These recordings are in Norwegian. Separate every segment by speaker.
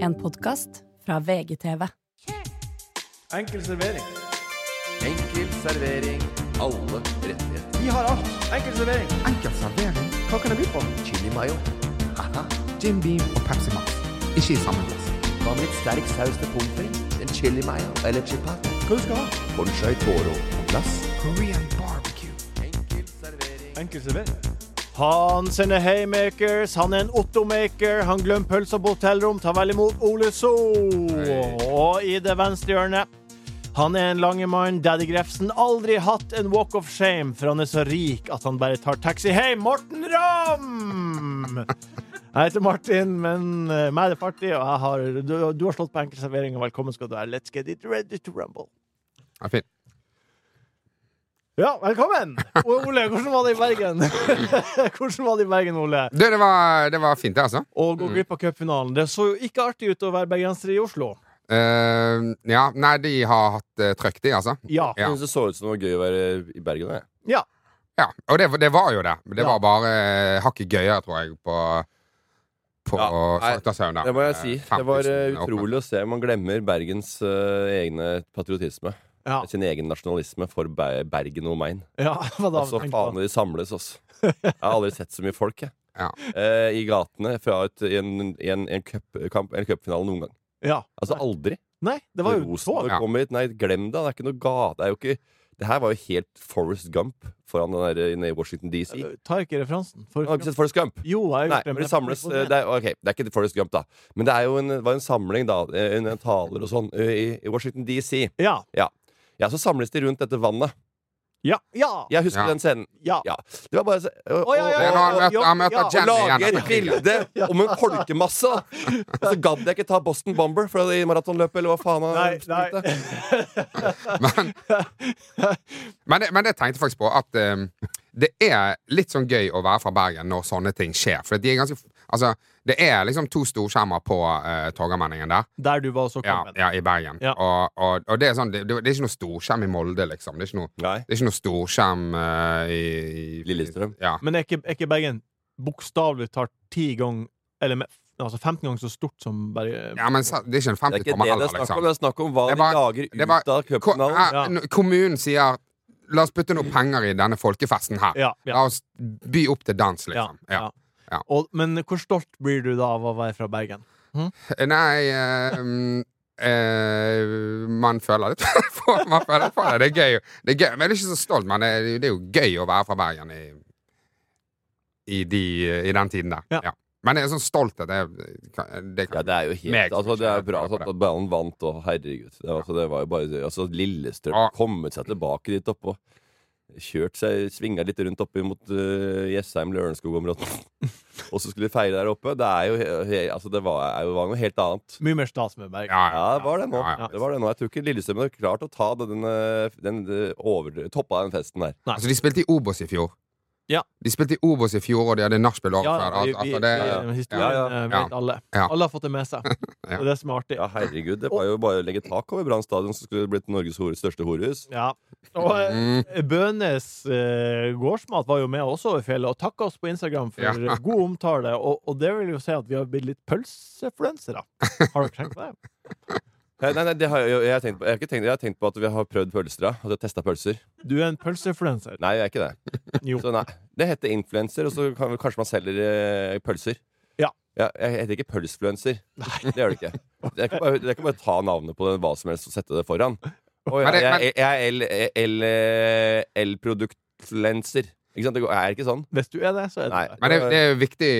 Speaker 1: En podkast fra VGTV.
Speaker 2: Enkel servering.
Speaker 3: Enkel servering. Alle rettigheter.
Speaker 2: Vi har alt. Enkel servering.
Speaker 4: Enkel servering,
Speaker 2: Hva kan jeg by på?
Speaker 3: Chili mayo. Haha.
Speaker 4: Jim Beam og Pepsi Max. Ikke i samme glass.
Speaker 3: Hva med litt sterk saus til pommes frites? En chili mayo eller chipat?
Speaker 2: Hva du skal ha?
Speaker 3: Bonchai toro på glass.
Speaker 4: Korean barbecue.
Speaker 3: Enkel servering.
Speaker 2: Enkel servering. Han sender haymakers, han er en ottomaker. Han glemmer pølser på hotellrom. Ta vel imot Ole So. Og i det venstre hjørnet han er en lange mann, Daddy Grefsen. Aldri hatt en walk of shame, for han er så rik at han bare tar taxi. Hei, Morten Ramm! Jeg heter Martin, men eh, meg er det party, og jeg har, du, du har slått på enkeltservering, og velkommen skal du være. Let's get it ready to rumble.
Speaker 4: Ja, fin.
Speaker 2: Ja, velkommen! Og Ole, hvordan var det i Bergen? hvordan var det i Bergen, Ole?
Speaker 4: Du, det var, det var fint, det, altså.
Speaker 2: Å gå
Speaker 5: Mm.
Speaker 2: glipp av cupfinalen. Det så jo ikke artig ut å være bergenser i Oslo.
Speaker 4: Eh, ja, nei, de har hatt uh, trøkk, de, altså.
Speaker 2: Ja.
Speaker 4: Ja.
Speaker 5: Jeg synes det så ut som det var gøy å være i Bergen. Jeg.
Speaker 2: ja.
Speaker 4: Ja, Og det, det var jo det. Det
Speaker 2: Ja.
Speaker 4: var bare eh, hakket gøyere, tror jeg, på på
Speaker 5: Ja, nei,
Speaker 4: Svartashaugen. der.
Speaker 5: Det må jeg si.
Speaker 4: Eh,
Speaker 5: Det var
Speaker 4: 5000
Speaker 5: eh, utrolig å se. Man glemmer Bergens eh, egne patriotisme.
Speaker 2: Ja.
Speaker 5: Sin egen nasjonalisme for Be- Bergen og Main.
Speaker 2: ja. Hva da?
Speaker 5: Altså,
Speaker 2: tenkte
Speaker 5: faen,
Speaker 2: du?
Speaker 5: de samles, altså. Jeg har aldri sett så mye folk, jeg.
Speaker 4: Ja.
Speaker 5: Eh, I gatene fra et, i en, i en, en, cupkamp- en cupfinale noen gang.
Speaker 2: Ja.
Speaker 5: Altså aldri.
Speaker 2: Nei, det var jo
Speaker 5: Rosenborg
Speaker 2: tog.
Speaker 4: Ja.
Speaker 5: kommer hit. Nei, glem det. Det er ikke noe ga... Det er jo ikke Det her var jo helt Forest Gump foran den der inne i Washington DC. Jeg
Speaker 2: Tar ikke referansen. For...
Speaker 5: har ikke sett Forest Gump.
Speaker 2: Jo, jeg har
Speaker 5: Nei,
Speaker 2: gjort det.
Speaker 5: men det samles eh, det er, ok, det er ikke Forest Gump, da. Men det er jo en, det var en samling, da. eh, En, en taler og sånn eh, i, i Washington DC.
Speaker 2: Ja.
Speaker 5: Ja, så samles de rundt dette vannet.
Speaker 2: Ja. Ja.
Speaker 5: Jeg husker
Speaker 4: Ja.
Speaker 5: den scenen.
Speaker 2: ja.
Speaker 5: Ja. Det var bare så- og-
Speaker 2: Å, ja, ja,
Speaker 4: Det
Speaker 5: og-
Speaker 4: var han
Speaker 2: ja,
Speaker 4: møtte, han møtte
Speaker 2: ja.
Speaker 5: og
Speaker 4: Jenny igjen. altså.
Speaker 5: lager
Speaker 4: etter
Speaker 5: et
Speaker 4: krigen.
Speaker 5: bilde om en folkemasse! da. Og så gadd jeg ikke ta Boston Bomber fra det i maratonløpet, eller hva faen han
Speaker 2: Nei,
Speaker 5: spilte.
Speaker 2: nei.
Speaker 4: Men, men, det, men det tenkte jeg faktisk på at ehm, det er litt sånn gøy å være fra Bergen når sånne ting skjer. For de er ganske, altså, det er liksom to storskjermer på uh, Torgallmenningen der,
Speaker 2: Der du var også
Speaker 4: ja,
Speaker 2: kommet.
Speaker 4: ja, i Bergen.
Speaker 2: Ja.
Speaker 4: Og, og, og det er sånn, det, det er ikke noe storskjerm i Molde, liksom. Det er ikke noe,
Speaker 5: Nei.
Speaker 4: det er ikke noe storskjerm eh, i, i
Speaker 5: Lillestrøm.
Speaker 4: Ja.
Speaker 2: Men er ikke, er ikke Bergen bokstavelig talt ti ganger Eller me- altså 15 ganger så stort som Bergen?
Speaker 4: ja, men sa- det er ikke
Speaker 5: Det
Speaker 4: en
Speaker 5: er
Speaker 4: 50
Speaker 5: ikke det
Speaker 4: tommer
Speaker 5: det er
Speaker 4: heller,
Speaker 5: snakk om.
Speaker 4: liksom.
Speaker 5: Det er snakk om hva de
Speaker 4: Det er bare-
Speaker 5: lager
Speaker 4: det er bare-
Speaker 5: ut av
Speaker 4: Ko-
Speaker 5: cupfinalen.
Speaker 4: eh, n- Kommunen sier La oss putte
Speaker 5: Mm.
Speaker 4: noe penger i denne folkefesten her.
Speaker 2: Ja, ja.
Speaker 4: La oss by opp til dans, liksom.
Speaker 2: Ja,
Speaker 4: ja.
Speaker 2: ja.
Speaker 4: Ja.
Speaker 2: Og, men hvor stolt blir du da av å være fra Bergen?
Speaker 4: Nei eh, mm, eh, Man føler litt på man føler litt på det. Det er gøy. Det er gøy. Men jeg er ikke så stolt, men det er, det er jo gøy å være fra Bergen i, i, de, i den tiden der.
Speaker 2: Ja.
Speaker 4: Ja. Men det er sånn stolthet det, kan- det
Speaker 5: Ja,
Speaker 4: kan,
Speaker 5: det er jo
Speaker 4: Meget
Speaker 5: helt altså, Det er
Speaker 4: forskjellig
Speaker 5: bra
Speaker 4: på det.
Speaker 5: at, at Ballen vant, og herregud. Det, var- altså, det var jo bare altså, Lillestrøm
Speaker 4: Ja.
Speaker 5: kommet seg tilbake dit oppe og kjørt seg, svinga litt rundt oppe mot eh, Jessheim, Lørenskog-området. og så skulle de feire der oppe. Det er jo he- he- altså, det var, er jo, var noe helt annet.
Speaker 2: Mye mer stas med Bergen.
Speaker 4: ja,
Speaker 5: Ja, det var det nå.
Speaker 4: Ja, ja.
Speaker 5: Det var det nå. Jeg tror ikke Lillestrøm hadde klart å ta den, eh, den, eh, over, toppa den festen der.
Speaker 4: Altså, de spilte i Obos i fjor.
Speaker 2: Ja.
Speaker 4: De spilte i Obos i fjor, og de hadde nachspiel året før.
Speaker 2: vi,
Speaker 4: Altså,
Speaker 2: vi,
Speaker 4: altså, det,
Speaker 2: vi- historien
Speaker 5: Ja,
Speaker 2: eh,
Speaker 4: ja.
Speaker 2: vet alle.
Speaker 4: Ja.
Speaker 2: Alle har fått det med seg. Det er det som er artig.
Speaker 5: Ja, herregud. Det var jo bare å legge tak over Brann stadion, så skulle det blitt Norges hore- største horehus.
Speaker 2: Ja. Og
Speaker 4: Mm.
Speaker 2: eh, Bønes eh, gårdsmat var jo med også over fjellet, og takka oss på Instagram for
Speaker 4: Ja.
Speaker 2: god omtale. Og, og det vil jo si at vi har blitt litt pølsefluensere. Har dere tenkt på det?
Speaker 5: Nei, nei, nei, det har jeg, jeg, har tenkt på, jeg, har ikke tenkt, jeg har tenkt på at vi har prøvd pølser. ja. At vi har testa pølser.
Speaker 2: Du er en pølsefluenser.
Speaker 5: Nei, jeg er ikke det.
Speaker 2: Jo.
Speaker 5: Så nei, Det heter influenser, og så kan, kanskje man selger eh, pølser.
Speaker 2: Ja.
Speaker 5: Jeg heter ikke pølsfluenser.
Speaker 2: Nei.
Speaker 5: Det gjør det ikke. Det er ikke bare, det er ikke bare å ta navnet på hva som helst og sette det foran. Og jeg,
Speaker 4: Men det-
Speaker 5: jeg, jeg er eh, el- el- el-produktfluenser. eh, Ikke sant? Det går- er ikke sånn.
Speaker 2: Hvis du er det, så er det
Speaker 5: Nei.
Speaker 2: det.
Speaker 4: men det, det er jo viktig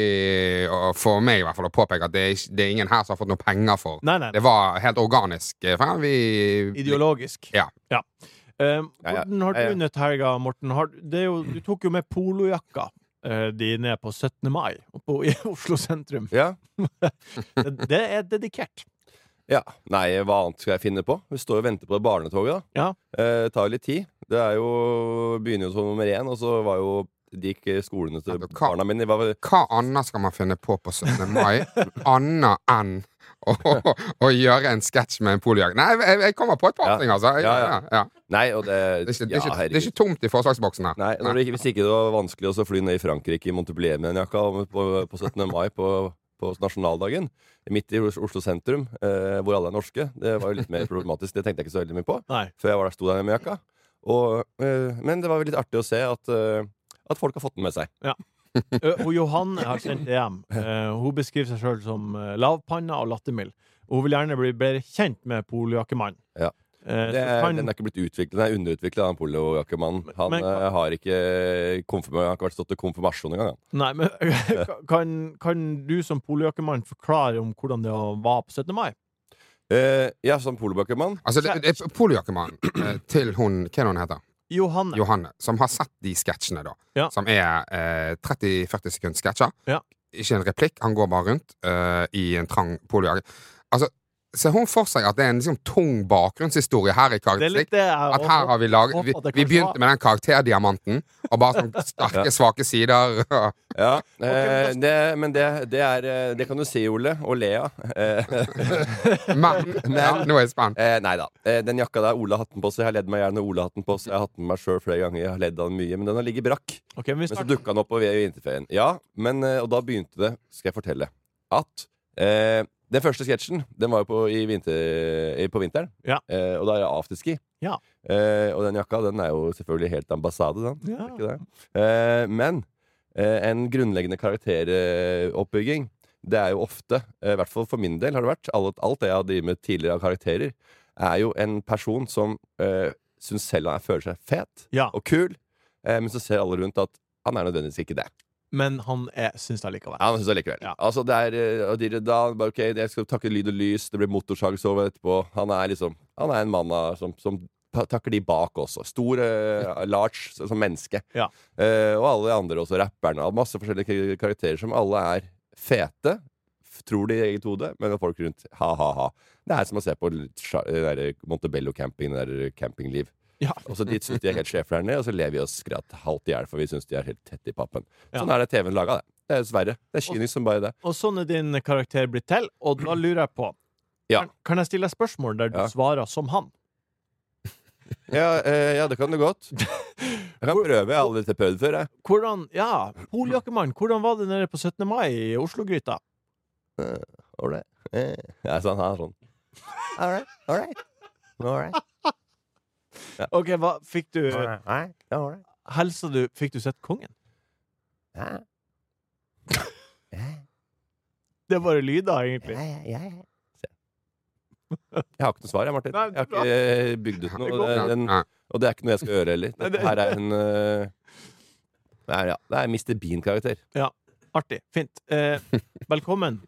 Speaker 4: å- for meg i hvert fall å påpeke at det er, ikke, det er ingen her som har fått noe penger for.
Speaker 2: Nei, nei.
Speaker 4: Det var helt organisk. eh, for Vi
Speaker 2: Ideologisk.
Speaker 4: Ja.
Speaker 2: Eh,
Speaker 5: Mm. Ja, ja.
Speaker 2: hvordan har
Speaker 5: Ja,
Speaker 2: du
Speaker 5: ja.
Speaker 2: nytt helga, Morten? Har, det er jo, du tok jo med polojakka eh, di ned på 17. mai oppe i Oslo sentrum.
Speaker 5: Ja.
Speaker 2: Det, det er dedikert.
Speaker 5: Ja, Nei, hva annet skal jeg finne på? Vi står og venter på det barnetoget. da
Speaker 2: Ja.
Speaker 5: eh, Det tar litt tid. Det er jo, begynner jo som nummer én, og så var jo de gikk skolene til
Speaker 4: Ja, men hva-
Speaker 5: barna mine. De var,
Speaker 4: Hva annet skal man finne på på 17. mai, annet enn å, å, å gjøre en sketsj med en polojakt? Nei, jeg, jeg kommer på et par
Speaker 5: Ja.
Speaker 4: ting, altså. Jeg,
Speaker 5: Ja,
Speaker 4: ja,
Speaker 5: ja.
Speaker 4: ja.
Speaker 5: nei, og det,
Speaker 4: Det, er ikke, det,
Speaker 5: ja,
Speaker 4: er ikke, det er
Speaker 5: herregud.
Speaker 4: ikke tomt i forslagsboksen her.
Speaker 5: Nei, når det, ikke- hvis ikke det var vanskelig å så fly ned i Frankrike i Montpellier med en jakka om- på, på 17. mai på, på nasjonaldagen, midt i Os- Oslo sentrum, eh, hvor alle er norske. Det var jo litt mer problematisk. Det tenkte jeg ikke så veldig mye på
Speaker 2: Nei.
Speaker 5: før jeg var der, sto der med jakka. Og, eh, men det var jo litt artig å se at, eh, at folk har fått den med seg.
Speaker 2: Ø, Og Johan har sendt det hjem. Eh, hun beskriver seg sjøl som eh, lavpanna og lattermild. Og hun vil gjerne bli bedre kjent med poljakkemannen.
Speaker 5: Ja.
Speaker 2: Eh,
Speaker 5: Det
Speaker 2: så
Speaker 5: er,
Speaker 2: kan-
Speaker 5: den er ikke blitt utviklet, den er underutviklet, den polojakkemannen. Han
Speaker 2: Men-
Speaker 5: eh, har ikke konfirm, han har ikke vært stått til konfirmasjon engang. han.
Speaker 2: Nei, men kan, kan du som poljakkemann forklare om hvordan det var på 17. mai?
Speaker 5: Eh, ja, som polojakkemann.
Speaker 4: Altså, det, det er Poliojakkemannen eh, til hun Hva er det hun heter?
Speaker 2: Johanne.
Speaker 4: Johanne, som har sett de sketsjene, da.
Speaker 2: Ja.
Speaker 4: Som er eh, 30-40 sekunds sketsjer.
Speaker 2: Ja.
Speaker 4: Ikke en replikk. Han går bare rundt eh, i en trang polojage. Altså, ser hun for seg at det er en liksom, tung bakgrunnshistorie her i
Speaker 2: det er litt
Speaker 4: karakteristikk?
Speaker 2: det jeg
Speaker 4: At her har vi laget
Speaker 2: håper
Speaker 4: Vi,
Speaker 2: at det
Speaker 4: vi
Speaker 2: kanskje var-
Speaker 4: begynte med den karakterdiamanten, og bare sånn
Speaker 5: Ja.
Speaker 4: sterke, svake sider. og-
Speaker 5: Ja,
Speaker 2: men
Speaker 5: eh, det, men det, det, er, eh, det kan du si, Ole, og le av. Eh,
Speaker 4: Men ja, nå er jeg spent.
Speaker 5: eh, nei da. Eh, den jakka der Ole har hatt den på seg, jeg har ledd meg gjerne Ole har hatt den på seg. Jeg har hatt den med meg sjøl flere ganger, jeg har ledd av den mye, men den har ligget brakk.
Speaker 2: Ok, men vi
Speaker 5: Men så
Speaker 2: starter.
Speaker 5: dukka han opp ved vinterferien. Ja, men, eh, og da begynte det, skal jeg fortelle, at eh, den første sketsjen Den var jo på, i vinter, i, på vinteren,
Speaker 2: Ja.
Speaker 5: eh, og da er det afterski.
Speaker 2: Ja.
Speaker 5: Eh, og den jakka den er jo selvfølgelig helt ambassade, den.
Speaker 2: Ja.
Speaker 5: Er ikke det? Eh, men eh, en grunnleggende karakteroppbygging, det er jo ofte, eh, i hvert fall for min del har det vært, alt, alt det jeg har drevet med tidligere av karakterer, er jo en person som eh, syns selv han er- føler seg fet
Speaker 2: Ja,
Speaker 5: og kul, eh, men så ser alle rundt at han er nødvendigvis ikke det.
Speaker 2: men han er, syns det likevel.
Speaker 5: Ja, han synes det likevel.
Speaker 2: Ja.
Speaker 5: Altså, det er, eh, og de, da, bare, ok, jeg skal takke lyd og lys, det blir motorsagshow etterpå. Han er liksom, han er en mann av- som, som ta- takker de bak også. Stor, eh, large, så- som menneske.
Speaker 2: Ja.
Speaker 5: Eh, og alle de andre også, rapperne. og Masse forskjellige kar- karakterer som alle er fete, f- tror de i eget hode, men folk rundt, ha ha ha. Det er som å se på litt sja- den der Montebello camping, det der campingliv.
Speaker 2: Ja.
Speaker 5: Og så de synes de er helt sjefer der nede, og så lever vi oss gratt halvt i hjel, for vi synes de er helt tett i pappen. Sånn er det TV-en laga, det. Det er dessverre. Det er kynisk som bare det.
Speaker 2: Og sånn er din karakter blitt til, og da lurer jeg på
Speaker 5: Ja.
Speaker 2: kan, kan jeg stille deg spørsmål der du
Speaker 5: Ja.
Speaker 2: svarer som han?
Speaker 5: Ja, eh, ja, det kan du godt. Jeg kan prøve. Jeg har aldri prøvd før, jeg.
Speaker 2: Hvordan, ja, Poljakkemann, hvordan var det nede på 17. mai i Oslo-gryta?
Speaker 5: Ålreit. Eh, Ja, sånn, han er sånn. Ålreit. Ålreit. Ålreit.
Speaker 2: Ok, hva fikk du
Speaker 5: Ålreit. Ålreit.
Speaker 2: Helsa du Fikk du sett kongen?
Speaker 5: Ja,
Speaker 2: Det er bare lyder, egentlig.
Speaker 5: ja, ja, ja. Se. Jeg har ikke noe svar, jeg, Martin.
Speaker 2: Nei,
Speaker 5: Jeg har ikke eh, bygd ut noe. Det,
Speaker 4: Ja,
Speaker 5: den,
Speaker 4: ja.
Speaker 5: og det er ikke noe jeg skal gjøre heller.
Speaker 2: Nei, det-
Speaker 5: Dette her er en eh, det er, ja, det er en Mr. Bean-karakter.
Speaker 2: Artig. Fint. Eh, velkommen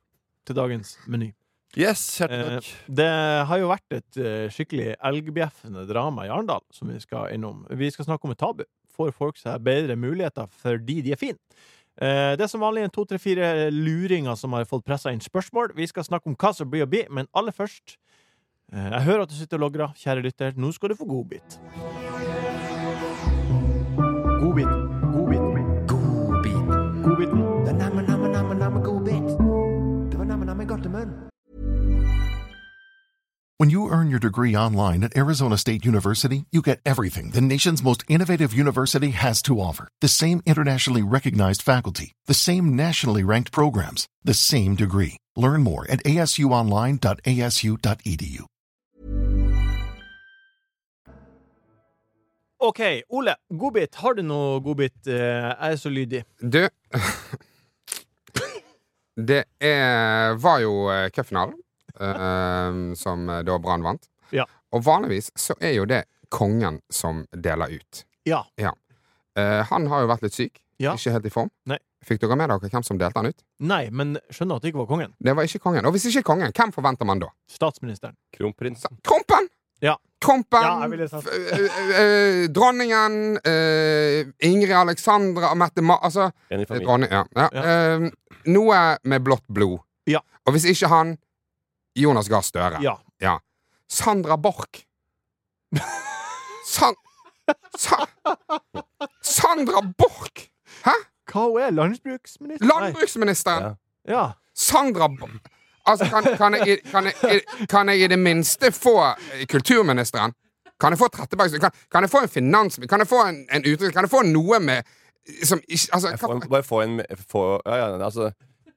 Speaker 2: til dagens meny.
Speaker 5: Yes, hjertelig
Speaker 2: Eh,
Speaker 5: takk.
Speaker 2: Det har jo vært et eh, skikkelig elgbjeffende drama i Arendal som vi skal innom. Vi skal snakke om et tabu. Får folk seg bedre muligheter fordi de er fine? Eh, Det er som vanlig en to, tre, fire luringer som har fått pressa inn spørsmål. Vi skal snakke om hva som blir å bli, men aller først eh, Jeg hører at du sitter og logrer, kjære lytter. Nå skal du få godbit. Godbit. Godbit.
Speaker 3: Godbit.
Speaker 2: Godbiten.
Speaker 3: Det er namme, namme, namme, namme godbit. Det var namme, namme godt i munnen.
Speaker 6: When you earn your degree online at Arizona State University, you get everything the nation's most innovative university has to offer. The same internationally recognized faculty, the same nationally ranked programs, the same degree. Learn more at asuonline.asu.edu.
Speaker 2: OK, Ole. Godbit. Har du noe godbit? Eh, Jeg er så lydig.
Speaker 4: Du Det er, var jo eh, cupfinalen, eh, som eh, da Brann vant.
Speaker 2: Ja.
Speaker 4: Og vanligvis så er jo det kongen som deler ut.
Speaker 2: Ja.
Speaker 4: Eh, han har jo vært litt syk,
Speaker 2: Ja.
Speaker 4: ikke helt i form.
Speaker 2: Nei.
Speaker 4: Fikk dere med dere hvem som delte han ut?
Speaker 2: Nei, men skjønner at det ikke var kongen.
Speaker 4: Det var ikke kongen. Og hvis ikke kongen, hvem forventer man da?
Speaker 2: Statsministeren.
Speaker 5: Kronprins.
Speaker 4: Så, Krompen!
Speaker 2: Ja.
Speaker 4: Krompen!
Speaker 2: Ja, jeg ville sagt-
Speaker 4: f- eh, eh, dronningen, eh, Ingrid Alexandra og Mette Ma... Altså,
Speaker 5: En i familien.
Speaker 4: Dronning, ja. Ja. eh, noe med blått blod.
Speaker 2: Ja.
Speaker 4: Og hvis ikke han Jonas Gahr Støre.
Speaker 2: Ja.
Speaker 4: Sandra Borch. San... Sa... Sandra Borch!
Speaker 2: Hva hun er landbruksminister?
Speaker 4: Landbruksministeren!
Speaker 5: Ja.
Speaker 2: Nei. Ja.
Speaker 4: Sandra Borch! Altså, kan, kan, jeg, i- kan, jeg, i- kan jeg i det minste få eh, kulturministeren? Kan jeg få Trettebergstuen? Kan, kan jeg få en finansminister? Kan jeg få en, en utenriks... Kan jeg få noe med som ikke Altså,
Speaker 5: Jeg
Speaker 4: hva
Speaker 5: får, en- bare få en få, ja, ja, altså,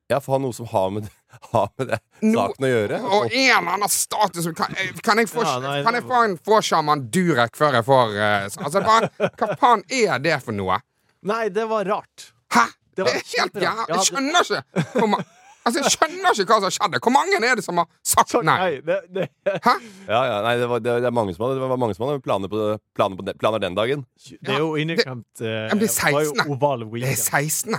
Speaker 5: Ja, for ha noe som har med, har med det
Speaker 4: No-
Speaker 5: saken å gjøre.
Speaker 4: Og en eller annen status Kan, eh, kan jeg få,
Speaker 2: Ja, nei,
Speaker 4: kan jeg få en Forshaman Durek før jeg får eh, så- altså, bare, Hva faen er det for noe?
Speaker 2: Nei, det var rart.
Speaker 4: Hæ?
Speaker 2: Det
Speaker 4: Det,
Speaker 2: var
Speaker 4: er helt
Speaker 2: kjemperart.
Speaker 4: jævlig
Speaker 2: Ja,
Speaker 4: Jeg skjønner ikke hvor ma- Altså, jeg skjønner ikke hva som skjedde. Hvor mange er det som har sagt
Speaker 2: Så-
Speaker 4: nei?
Speaker 2: det, det,
Speaker 4: Hæ?
Speaker 5: Ja, ja, nei, det, var, det, det, er mange som hadde, det var mange som hadde planer, på, planer, på den- planer den dagen.
Speaker 2: det er jo inneklemt eh,
Speaker 4: men det er
Speaker 2: det var jo
Speaker 4: 16.
Speaker 2: oval
Speaker 4: Det er
Speaker 2: weekend.
Speaker 4: 16.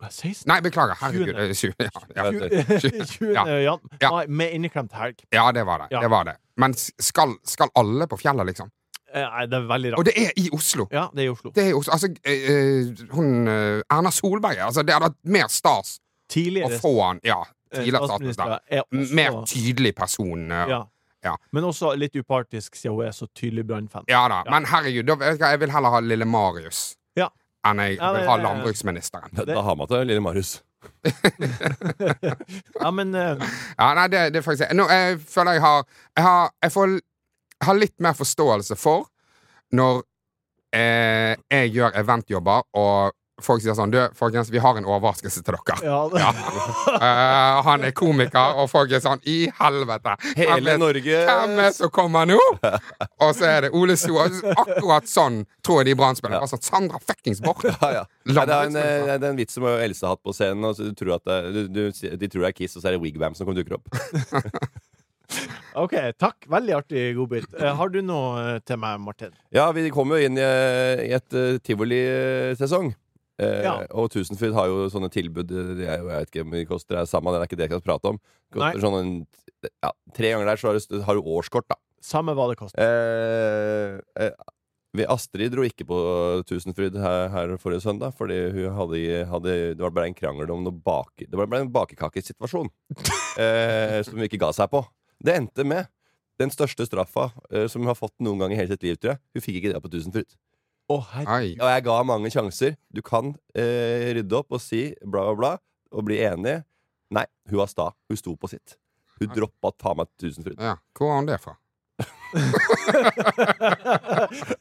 Speaker 2: Hva, 16?
Speaker 4: Nei, beklager. Herregud. det er 20. Ja, ja. Ja.
Speaker 2: 20. eh, jan-
Speaker 4: Ja.
Speaker 2: Nei, med inneklemt helg.
Speaker 4: ja det var det.
Speaker 2: Ja.
Speaker 4: det, var det. Men s- skal, skal alle på fjellet, liksom?
Speaker 2: Eh, Nei, det er veldig
Speaker 4: Og
Speaker 2: rart.
Speaker 4: det er i Oslo!
Speaker 2: Ja, det er i Oslo.
Speaker 4: Det er i Oslo. Altså, eh, eh, hun eh, Erna Solberg altså, Det hadde vært mer stas å
Speaker 2: Tidligere
Speaker 4: få han Ja,
Speaker 2: eh,
Speaker 4: tidligere statsminister.
Speaker 2: er
Speaker 4: M- Mer
Speaker 2: også
Speaker 4: tydelig person. eh,
Speaker 2: ja.
Speaker 4: Ja.
Speaker 2: Men også litt upartisk, siden hun er så tydelig Brann-fan.
Speaker 4: Ja da, men herregud, da, vet du hva, jeg vil heller ha lille Marius
Speaker 2: Ja.
Speaker 4: enn jeg
Speaker 2: Ja, det-
Speaker 4: vil ha
Speaker 2: det-
Speaker 4: landbruksministeren.
Speaker 5: Da, da har man til lille Marius.
Speaker 2: Ja, men eh,
Speaker 4: Ja, nei, det, det er faktisk Nå, Jeg føler jeg har Jeg, har, jeg får jeg har litt mer forståelse for når eh, jeg gjør eventjobber, og folk sier sånn Du, folkens, vi har en overraskelse til dere.
Speaker 2: ja,
Speaker 4: Eh, han er komiker, og folk er sånn I helvete! Hvem
Speaker 5: Hele
Speaker 4: er-
Speaker 5: Norge
Speaker 4: Hvem er det som kommer nå?! Og så er det Ole So. Akkurat sånn tror jeg de Brann-spillerne var. Sånn, Sandra fuckings Borch!
Speaker 5: Ja, ja. Nei, det, er en, eh, det er en vits som Else har hatt på scenen. Og så du tror at det, er- du, du, de tror det er Kiss, og så er det Wigbam som kommer dukker opp.
Speaker 2: OK, takk. Veldig artig godbit. Eh, Har du noe eh, til meg, Martin?
Speaker 5: Ja, vi kommer jo inn i, eh, i et eh, tivolisesong. Eh,
Speaker 2: Ja.
Speaker 5: Og Tusenfryd har jo sånne tilbud eh, det er jo, Jeg vet ikke om de koster det er samme, det er ikke det jeg skal prate om. Det
Speaker 2: Nei.
Speaker 5: Koster sånn en, ja, tre ganger der så har du, har du årskort, da.
Speaker 2: Samme hva det koster.
Speaker 5: Eh, eh, vi- Astrid dro ikke på Tusenfryd her, her forrige søndag, fordi hun hadde, hadde, det var bare en krangel om noe bake... Det var bare en bakekakesituasjon eh, som hun ikke ga seg på. Det endte med den største straffa eh, som hun har fått noen gang i hele sitt liv, tror jeg. Hun fikk ikke det på Tusenfryd.
Speaker 2: Å, herre...
Speaker 4: Ai.
Speaker 5: Og jeg ga mange sjanser. Du kan eh, rydde opp og si bla, bla, bla, og bli enig. Nei, hun var sta. Hun sto på sitt. Hun droppa å ta meg til Tusenfryd.
Speaker 4: Ja, hvor har han det fra?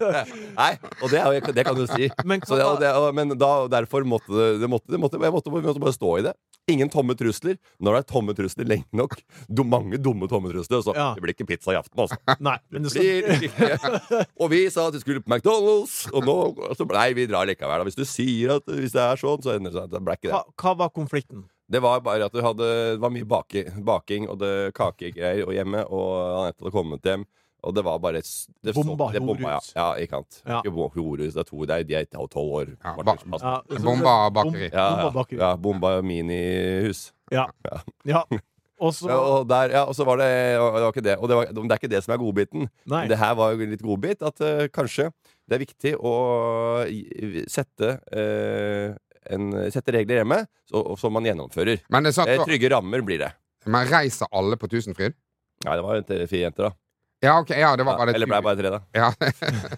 Speaker 5: Nei, og det, er jo- det kan du si.
Speaker 2: Men
Speaker 5: Så det, og det, og, men da, og derfor måtte det, det, måtte, det måtte, jeg måtte, jeg måtte bare stå i det. Ingen tomme trusler. Når det er tomme trusler lenge nok du, Mange dumme tomme trusler. Så
Speaker 2: Ja.
Speaker 5: det blir ikke pizza i aften, altså.
Speaker 2: Nei, men det sånn.
Speaker 5: Blir
Speaker 2: skal...
Speaker 5: ikke. Og vi sa at vi skulle på McDonald's, og nå så, Nei, vi drar likevel. Da. Hvis du sier at hvis det er sånn, så ender det seg at det ble ikke
Speaker 2: hva,
Speaker 5: det.
Speaker 2: hva var konflikten?
Speaker 5: Det var bare at du hadde, det var mye bake, baking og det kakegreier og hjemme, og Anette hadde kommet hjem. Og det var bare s- det så-
Speaker 2: Bomba,
Speaker 5: det bomba ja.
Speaker 2: horus.
Speaker 5: ja, ikke sant.
Speaker 2: Ja.
Speaker 5: Ikke bo- Horus, det er to, det er, de er tolv år.
Speaker 4: Ja,
Speaker 5: Martin,
Speaker 4: ba-
Speaker 5: pass.
Speaker 2: Ja, så-
Speaker 4: Bomba og bakeri.
Speaker 2: Bom-
Speaker 5: Ja,
Speaker 2: Bomba
Speaker 5: ja,
Speaker 2: bakeri.
Speaker 5: ja, bomba minihus.
Speaker 2: Ja. ja. Og så
Speaker 5: Ja, og, der, ja, og så var det og Det var ikke det. Og det, var, det er ikke det som er godbiten.
Speaker 2: Nei.
Speaker 5: Men Det her var jo litt godbit. At eh, kanskje det er viktig å i- sette eh, en, Sette regler hjemme så, og, som man gjennomfører.
Speaker 4: Men det er sant,
Speaker 5: Eh,
Speaker 4: da.
Speaker 5: trygge rammer blir det.
Speaker 4: Men reiser alle på Tusenfryd?
Speaker 5: Nei, det var jo tre- fire jenter, da.
Speaker 4: Ja, ok, ja, det var
Speaker 5: Ja,
Speaker 4: bare
Speaker 5: Eller ble det bare tre, da?
Speaker 4: Ja.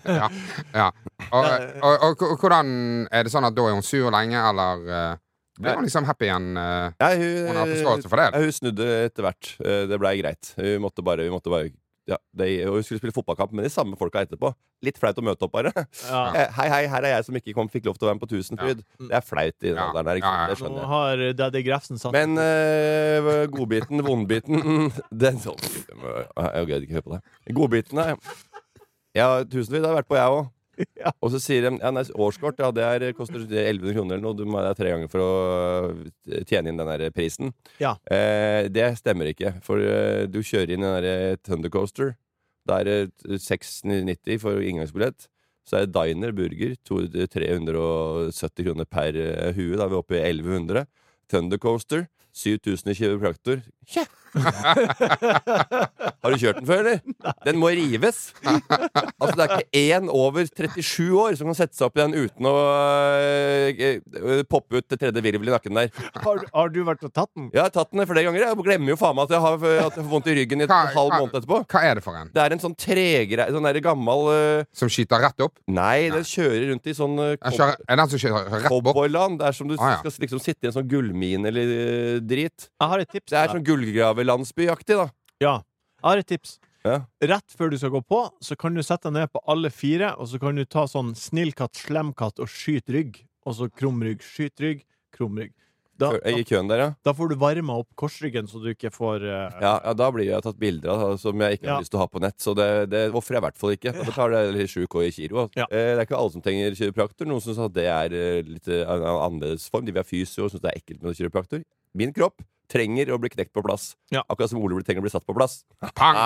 Speaker 4: ja. ja. Og, og, og, og hvordan Er det sånn at da er hun sur lenge, eller eh, blir hun liksom happy igjen? eh?
Speaker 5: Nei, hun,
Speaker 4: Hun har forståelse for det, eller?
Speaker 5: Ja, hun snudde etter hvert. Eh, Det blei greit. Hun måtte bare, hun måtte bare ja, det, og Hun skulle spille fotballkamp med de samme folka etterpå. Litt flaut å møte opp, bare.
Speaker 2: ja.
Speaker 5: Eh, Hei, hei, her er jeg som ikke kom, fikk lov til å være med på Tusenfryd. Det er flaut i den
Speaker 4: Mm. Ja.
Speaker 5: alderen der. Ikke?
Speaker 4: Ja, ja.
Speaker 5: sant?
Speaker 2: Nå
Speaker 5: Det skjønner jeg.
Speaker 2: har Daddy Grefsen satt
Speaker 5: Men eh, godbiten, vondbiten Den sånn Jeg gidder ikke høre på det. Godbitene Ja, Tusenfryd har jeg vært på, jeg òg.
Speaker 2: Ja.
Speaker 5: Og så sier de ja, nei, årskort ja, det er, koster 1100 kroner eller noe. Du må det er tre ganger for å øh, tjene inn den der prisen.
Speaker 2: Ja.
Speaker 5: Eh, det stemmer ikke, for øh, du kjører inn den der Thundercoaster. eh, Da er det 690 for inngangsbillett. Så er det diner, burger, to- 370 kroner per øh, hue. Da er vi oppe i 1100. Thundercoaster, 7000 i kiropraktor. Tja! Har du kjørt den før, eller? Den må rives! Altså Det er ikke én over 37 år som kan sette seg opp i den uten å øh, øh, poppe ut det tredje virvel i nakken der.
Speaker 2: har, du- har du vært og tatt den?
Speaker 5: Jeg har tatt den flere ganger. Jeg glemmer jo faen meg at jeg har, at jeg får vondt i ryggen i en
Speaker 4: Hva-
Speaker 5: halv
Speaker 4: hva-
Speaker 5: måned etterpå.
Speaker 4: Hva er det for en
Speaker 5: Det er en sånn tregreie Sånn der gammel øh,
Speaker 4: som skyter rett opp?
Speaker 5: Nei, den kjører rundt i sånn øh,
Speaker 4: Er kjører- er den som skyter rett bort?
Speaker 5: cowboyland. Det er som du
Speaker 4: Ah, ja.
Speaker 5: skal liksom sitte i en sånn gullmine eller øh, drit.
Speaker 2: Jeg har et tips.
Speaker 5: Det er
Speaker 2: til deg.
Speaker 5: sånn gullgravelandsbyaktig, da.
Speaker 2: Ja, jeg har et tips.
Speaker 5: Ja.
Speaker 2: Rett før du skal gå på, så kan du sette deg ned på alle fire, og så kan du ta sånn snill katt, slem katt og skyt rygg. Og så krum rygg, skyt rygg, krum rygg. Da,
Speaker 5: Før- I
Speaker 2: da,
Speaker 5: køen der, ja.
Speaker 2: da får du varma opp korsryggen, så du ikke får eh,
Speaker 5: ja. Ja, Da blir jeg tatt bilder av som jeg ikke
Speaker 2: Ja.
Speaker 5: har lyst til å ha på nett. Så det, det ofrer jeg i hvert fall ikke. Da betaler jeg 7K i kilo. Altså.
Speaker 2: Ja.
Speaker 5: Eh, Det er ikke alle som trenger kiropraktor. Noen syns at det er eh, litt eh, en annerledes form. De vil ha fysio og syns det er ekkelt med kiropraktor. Min kropp trenger å bli knekt på plass.
Speaker 2: Ja.
Speaker 5: Akkurat som Ole trenger å bli satt på plass.
Speaker 4: Pang!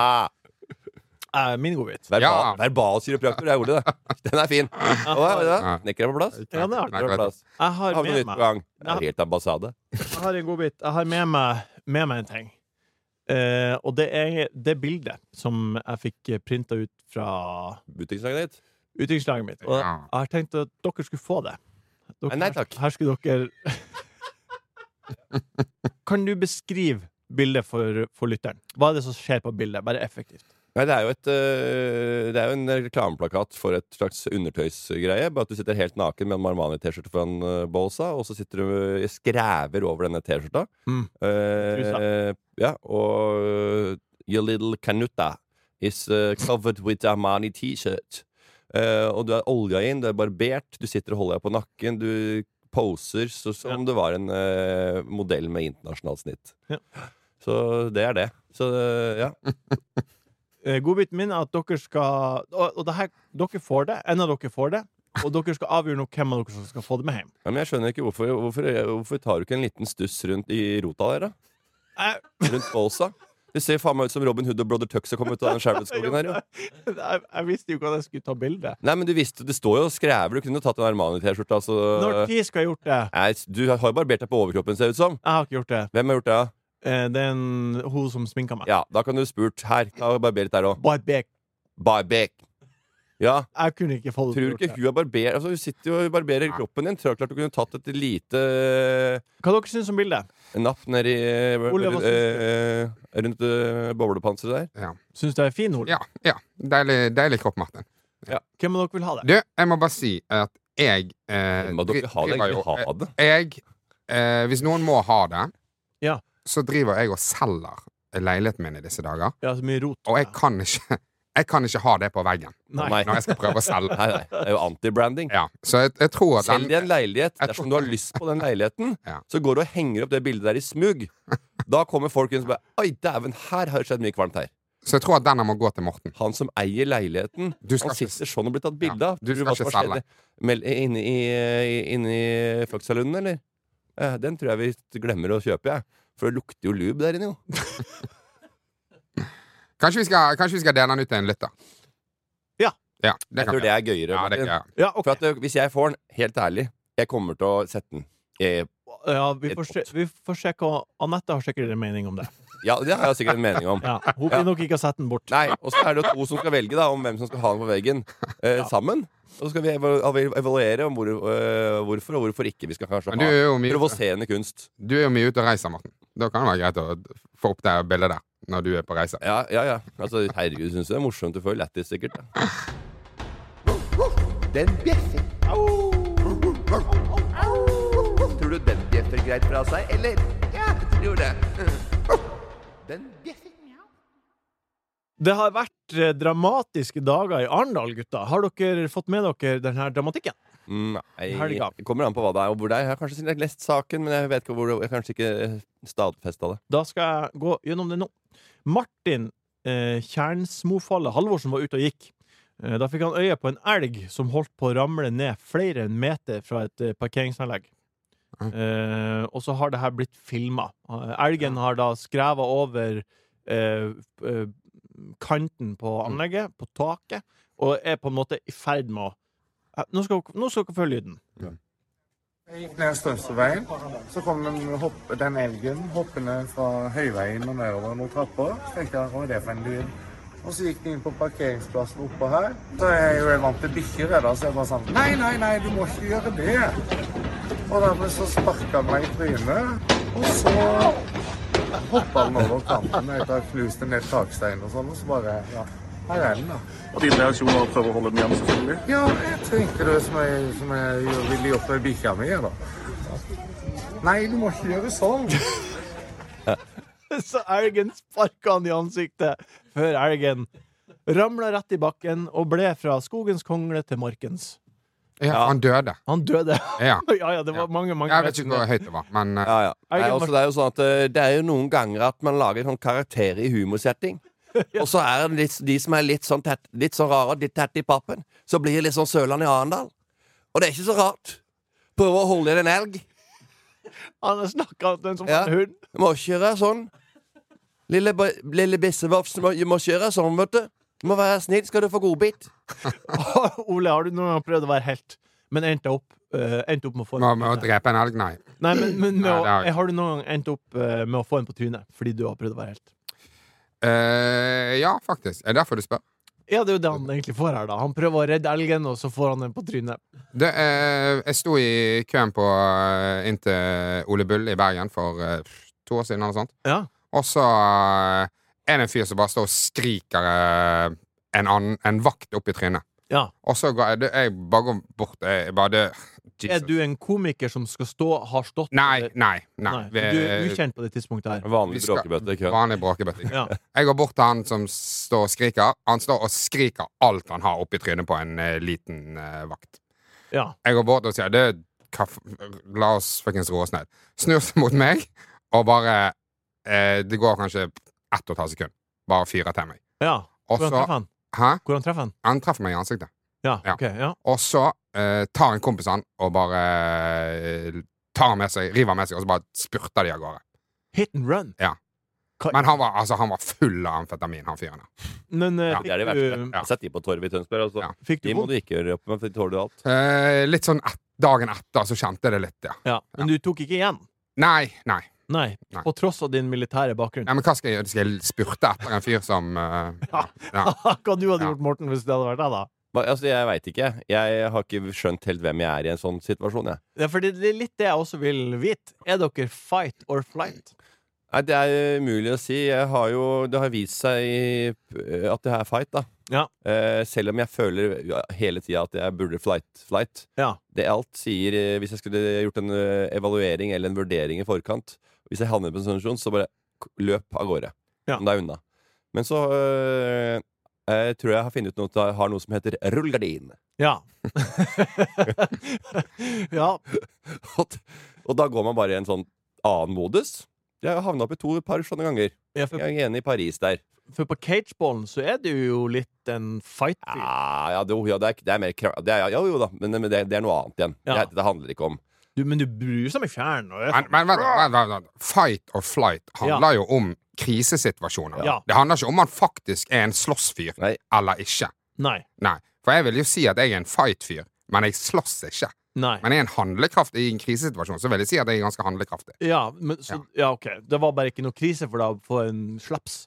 Speaker 5: Ah,
Speaker 2: eh, min godbit.
Speaker 5: verbal,
Speaker 4: Ja.
Speaker 5: verbal kiropraktor er Ole, det. Den er fin. Og,
Speaker 4: Ja.
Speaker 5: Knekker deg på plass.
Speaker 2: Ja, det er artig.
Speaker 5: Knekker deg på plass.
Speaker 2: Jeg har
Speaker 5: Har vi noe
Speaker 2: med
Speaker 5: nytt på
Speaker 2: meg,
Speaker 5: gang? Det
Speaker 2: Ja.
Speaker 5: er helt ambassade.
Speaker 2: jeg har en godbit. Jeg har med meg, med meg en ting. Eh, og det er det bildet som jeg fikk printa ut fra
Speaker 5: Butikkslaget ditt.
Speaker 2: utviklingslaget mitt. Og jeg
Speaker 4: Ja.
Speaker 2: har tenkt at dere skulle få det. Dere,
Speaker 5: Nei, takk.
Speaker 2: Her skulle dere Kan du beskrive bildet for, for lytteren? Hva er det som skjer på bildet? Bare effektivt.
Speaker 5: Nei, det er jo et øh, Det er jo en reklameplakat for et slags undertøysgreie. Bare at du sitter helt naken med en Marmani-T-skjorte foran øh, bolsa, og så sitter du og skræver over denne T-skjorta.
Speaker 2: Mm.
Speaker 5: Eh,
Speaker 2: Trusa.
Speaker 5: ja, og øh, Your little canuta is øh, covered with Armani T-shirt. Eh, og du er olja inn, du er barbert, du sitter og holder deg på nakken. Du poser så, som om du var en øh, modell med internasjonalt snitt.
Speaker 2: Ja.
Speaker 5: Så det er det. Så øh, ja.
Speaker 2: Eh, Godbiten min er at dere skal Og, og det her, dere får det. En av dere får det. Og dere skal avgjøre nå hvem av dere som skal få det med hjem.
Speaker 5: Ja, men jeg skjønner ikke hvorfor, hvorfor, hvorfor tar du ikke en liten stuss rundt i rota der, da?
Speaker 2: Jeg,
Speaker 5: Rundt bolsa? Det ser faen meg ut som Robin Hood og Brother Tuck som kom ut av den skjærbudsskogen her, jo.
Speaker 2: jeg, jeg visste jo ikke at jeg skulle ta bilde.
Speaker 5: Nei, men du visste, det står jo og skrever. Du kunne jo tatt en Armani-T-skjorte, altså.
Speaker 2: Når tid skal jeg ha gjort det?
Speaker 5: Nei, du har jo barbert deg på overkroppen, ser det ut som.
Speaker 2: Jeg har ikke gjort det.
Speaker 5: Hvem har gjort det?
Speaker 2: Eh, Det er en, hun som sminka meg.
Speaker 5: Ja, da kan du spurt. Her, ta og barber litt der òg.
Speaker 2: Bare bek.
Speaker 5: Barbek. Ja,
Speaker 2: Jeg kunne ikke få det
Speaker 5: tror du ikke
Speaker 2: gjort det.
Speaker 5: hun er barber... Altså, hun sitter jo og barberer kroppen din. Tror du klart du kunne tatt et lite eh,
Speaker 2: Hva dere syns om bildet?
Speaker 5: napp nedi
Speaker 2: Ole, hva syns du?
Speaker 5: Rundt eh, boblepanseret der?
Speaker 2: Syns du det er fin, Ole?
Speaker 4: Ja, ja. Deilig, deilig kropp, Martin.
Speaker 2: Hvem av dere vil ha det?
Speaker 4: Du, jeg må bare si at jeg eh,
Speaker 5: Men dere
Speaker 4: dri-
Speaker 5: har det,
Speaker 4: driver jo- eh,
Speaker 5: ikke ha det.
Speaker 4: Jeg eh, Hvis noen må ha det,
Speaker 2: Ja.
Speaker 4: så driver jeg og selger leiligheten min i disse dager.
Speaker 2: Ja, så mye rot.
Speaker 4: Og jeg kan ikke, jeg kan ikke ha det på veggen
Speaker 2: Nei.
Speaker 5: Nei.
Speaker 4: når jeg skal prøve å selge.
Speaker 5: Nei, nei, det er jo anti-branding.
Speaker 4: Ja, så jeg, jeg tror at
Speaker 5: Selg
Speaker 4: den
Speaker 5: deg en leilighet.
Speaker 4: Jeg
Speaker 5: Dersom
Speaker 4: tror-
Speaker 5: du har lyst på den leiligheten,
Speaker 4: Ja.
Speaker 5: så går du og henger opp det bildet der i smug. Da kommer folk inn og bare Oi, dæven, her har det skjedd mye kvalmt her.
Speaker 4: Så jeg tror at denne må gå til Morten.
Speaker 5: Han som eier leiligheten,
Speaker 4: Du skal
Speaker 5: han
Speaker 4: ikke-
Speaker 5: sitter sånn og blir tatt bilde
Speaker 4: Ja,
Speaker 5: av.
Speaker 4: du
Speaker 5: Tror
Speaker 4: skal
Speaker 5: hva som
Speaker 4: ikke
Speaker 5: har
Speaker 4: selge.
Speaker 5: skjedd mell- Inne i, eh, inne i Faksalunden, eller? Eh, Den tror jeg vi glemmer å kjøpe, jeg. For det lukter jo lube der inne, jo.
Speaker 4: Kanskje vi skal, kanskje vi skal dele den ut til en lytter?
Speaker 2: Ja.
Speaker 4: ja det
Speaker 5: Jeg
Speaker 4: kan
Speaker 5: tror
Speaker 4: vi.
Speaker 5: det er gøyere.
Speaker 4: Ja, det,
Speaker 5: Martin.
Speaker 4: ja.
Speaker 2: Ja, ok.
Speaker 5: For at, eh, hvis jeg får den, helt ærlig, jeg kommer til å sette den. Eh,
Speaker 2: ja, vi, får
Speaker 5: Et
Speaker 2: se, vi får se hva Anette har sikkert en mening om det.
Speaker 5: Ja, det har jeg sikkert en mening om.
Speaker 2: Ja, hun vil nok ikke ha sett den bort.
Speaker 5: Nei, og så er det jo to som skal velge da om hvem som skal ha den på veggen eh, sammen. Og så skal vi evalu- evalu- evaluere om hvor, eh, hvorfor og hvorfor ikke vi skal kanskje
Speaker 4: Men du er,
Speaker 5: ha
Speaker 4: jo mye,
Speaker 5: provoserende kunst.
Speaker 4: du er jo mye ute og reiser, Morten. Da kan det være greit å få opp det bildet der når du er på reise.
Speaker 5: Ja, ja, ja. Altså, herregud, syns du det er morsomt? Du får jo lættis, sikkert. da.
Speaker 3: Den bjeffer. Tror du den bjeffer greit fra seg, eller? Ja, jeg tror det. Den bjeffer.
Speaker 2: Det har vært eh, dramatiske dager i Arendal, gutta. Har dere fått med dere den her dramatikken?
Speaker 5: Mm, Nei,
Speaker 2: Helga.
Speaker 5: det kommer an på hva det er og hvor det er. Jeg har kanskje lest saken, men jeg vet ikke hvor det, jeg har kanskje ikke stadfesta det.
Speaker 2: Da skal jeg gå gjennom det nå. Martin eh, Kjernsmofalle Halvorsen var ute og gikk. Eh, da fikk han øye på en elg som holdt på å ramle ned flere meter fra et eh, parkeringsanlegg. Eh, og så har det her blitt filma. Eh, elgen har da skreva over eh, f- eh, kanten på anlegget, på taket, og er på en måte i ferd med å Eh, Nå skal dere- nå skal dere følge lyden.
Speaker 7: Jeg gikk ned Strømsøveien, så kom den, hopp, den elgen hoppende fra høyveien og nedover mot trappa. Så tenkte jeg, hva er det for en lyd? Og så gikk den inn på parkeringsplassen oppå her. Så jeg er jo vant til bikkjer, jeg da, så jeg bare sånn, nei, nei, nei, du må ikke gjøre det. Og dermed så sparket den meg i trynet, og så hoppet den over kanten etter å ha knust en del takstein og sånn, og så bare, ja, her er den da.
Speaker 8: Og din reaksjon var å prøve å holde den igjen, selvfølgelig.
Speaker 7: Ja, jeg tenkte det som jeg, som jeg gjør- ville gjort med bikkja mi, jeg, da. Nei, du må ikke gjøre sånn.
Speaker 2: Så elgen sparka han i ansiktet før elgen ramla rett i bakken og ble fra skogens kongle til markens.
Speaker 4: Ja, for Han døde.
Speaker 2: Han døde.
Speaker 4: Ja.
Speaker 2: ja, ja, det var mange, mange
Speaker 4: Jeg vet ikke hvor høyt det var, men eh,
Speaker 5: Ja, ja.
Speaker 2: Er det
Speaker 5: Nei,
Speaker 2: ikke
Speaker 5: altså, det er jo sånn at eh, Det er jo noen ganger at man lager sånn karakterer i humorsetting. Og så er det litt, de som er litt sånn tett, litt så rare og litt tette i pappen, så blir det litt sånn Sørland i Arendal. Og det er ikke så rart. Prøve å holde igjen en elg.
Speaker 2: Han har snakka om den som
Speaker 5: Ja.
Speaker 2: en hund.
Speaker 5: Du må ikke gjøre sånn. Lille, b- lille bissevops, du må, du må ikke gjøre sånn, vet du. Du må være snill, skal du få godbit.
Speaker 2: Ole, har du noen gang prøvd å være helt, men endte opp, eh, endte opp med å få
Speaker 4: må, må drepe en elg, nei.
Speaker 2: Nei, men, men med
Speaker 4: Nei,
Speaker 2: å,
Speaker 4: det har jeg ikke.
Speaker 2: har du noen gang endt opp eh, med å få en på trynet fordi du har prøvd å være helt?
Speaker 4: Eh, ja, faktisk. Er det derfor du spør?
Speaker 2: Ja, det er jo det han egentlig får her, da. Han prøver å redde elgen, og så får han en på trynet.
Speaker 4: Det, eh, jeg sto i køen på eh, inn til Ole Bull i Bergen for eh, to år siden eller noe sånt.
Speaker 2: Ja.
Speaker 4: Og så eh, er det en fyr som bare står og skriker eh, en, annen, en vakt opp i trynet.
Speaker 2: Ja.
Speaker 4: Og så går jeg, det- jeg bare går bort jeg bare, det, Jesus.
Speaker 2: Er du en komiker som skal stå, har stått
Speaker 4: Nei, nei, nei.
Speaker 2: Nei,
Speaker 4: Vi-
Speaker 2: Du er ukjent på det tidspunktet her.
Speaker 4: vi
Speaker 5: Vanlig
Speaker 4: skal-
Speaker 5: bråkebøtte i køen.
Speaker 4: Vanlig bråkebøtte.
Speaker 2: Ja.
Speaker 4: Jeg går bort til han som står og skriker. Han står og skriker alt han har oppi trynet på en eh, liten eh, vakt.
Speaker 2: ja.
Speaker 4: Jeg går bort og sier det, hva, f- La oss fuckings roe oss ned. Snur seg mot meg, og bare eh, Det går kanskje ett og et halvt sekund. Bare fyrer til meg.
Speaker 2: ja.
Speaker 4: Og
Speaker 2: Hvordan
Speaker 4: så
Speaker 2: treffer han?
Speaker 4: Hæ?
Speaker 2: Hvordan treffer han?
Speaker 4: Han treffer meg i ansiktet.
Speaker 2: Ja,
Speaker 4: Ja.
Speaker 2: ok. Ja.
Speaker 4: Og så eh, tar en kompis han og bare eh, tar han med seg, river han med seg, og så bare spurter de av gårde.
Speaker 2: Hit and run.
Speaker 4: Ja.
Speaker 2: Hva-
Speaker 4: Men han var, altså, han var full av amfetamin, han fyren der.
Speaker 2: Men eh,
Speaker 4: Ja,
Speaker 5: Det er det
Speaker 2: fikk,
Speaker 5: verste.
Speaker 2: du,
Speaker 4: Ja.
Speaker 5: Sett de på torvet i Tønsberg. Altså.
Speaker 4: Ja.
Speaker 2: fikk du
Speaker 5: De må
Speaker 2: vondt?
Speaker 5: du ikke gjøre opp med, for de tåler jo alt.
Speaker 4: Eh, litt sånn et, dagen etter så kjente jeg det litt, ja.
Speaker 2: Ja. Men du tok ikke igjen?
Speaker 4: Nei, nei.
Speaker 2: Nei.
Speaker 4: Nei.
Speaker 2: På tross av din militære bakgrunn.
Speaker 4: nei men hva skal jeg gjøre? Skal jeg spurte etter en fyr som eh, ja. ja.
Speaker 2: Hva du hadde
Speaker 4: Ja.
Speaker 2: gjort, Morten, hvis det hadde vært deg, da?
Speaker 5: Hva- Altså, jeg veit ikke. Jeg har ikke skjønt helt hvem jeg er i en sånn situasjon. Jeg.
Speaker 2: Det er fordi det er litt det jeg også vil vite. Er dere fight or flight?
Speaker 5: Nei, Det er eh, umulig å si. Jeg har jo, det har vist seg i, eh, at det er fight, da.
Speaker 2: Ja.
Speaker 5: Eh, selv om jeg føler ja, hele tida at jeg burde flight. flight.
Speaker 2: Ja.
Speaker 5: Det alt sier eh, Hvis jeg skulle gjort en eh, evaluering eller en vurdering i forkant Hvis jeg havner på en sånn situasjon, så bare k- løp av gårde.
Speaker 2: Ja.
Speaker 5: Om det er unna. Men så eh, eh, tror jeg jeg har funnet ut noe, at jeg har noe som heter rullegardin.
Speaker 2: Ja. ja.
Speaker 5: Og, t- og da går man bare i en sånn annen modus. Jeg har havna opp i to par sånne ganger.
Speaker 2: ja for,
Speaker 5: Jeg er enig i Paris der.
Speaker 2: for på cageballen så er du jo litt en fight.
Speaker 5: Ah, Ja, ja, det, ja, det, er, ikke- det er mer krav... Det er, ja, jo da, men, men det, det er noe annet igjen.
Speaker 2: Ja.
Speaker 5: Det, det handler ikke om
Speaker 2: Du, men du bruser meg fjern. Og
Speaker 4: Men, men vent, vent, vent, vent. Fight or flight handler jo om krisesituasjoner.
Speaker 2: Ja.
Speaker 4: Det handler ikke om man faktisk er en slåssfyr
Speaker 5: Nei.
Speaker 4: eller ikke.
Speaker 2: Nei.
Speaker 4: Nei, For jeg vil jo si at jeg er en fight-fyr, men jeg slåss ikke.
Speaker 2: Nei.
Speaker 4: Men jeg er en handlekraftig i en krisesituasjon, så vil jeg si at jeg er ganske handlekraftig.
Speaker 2: Ja, men så, ja, ok. Det var bare ikke noe krise for deg å få en slaps.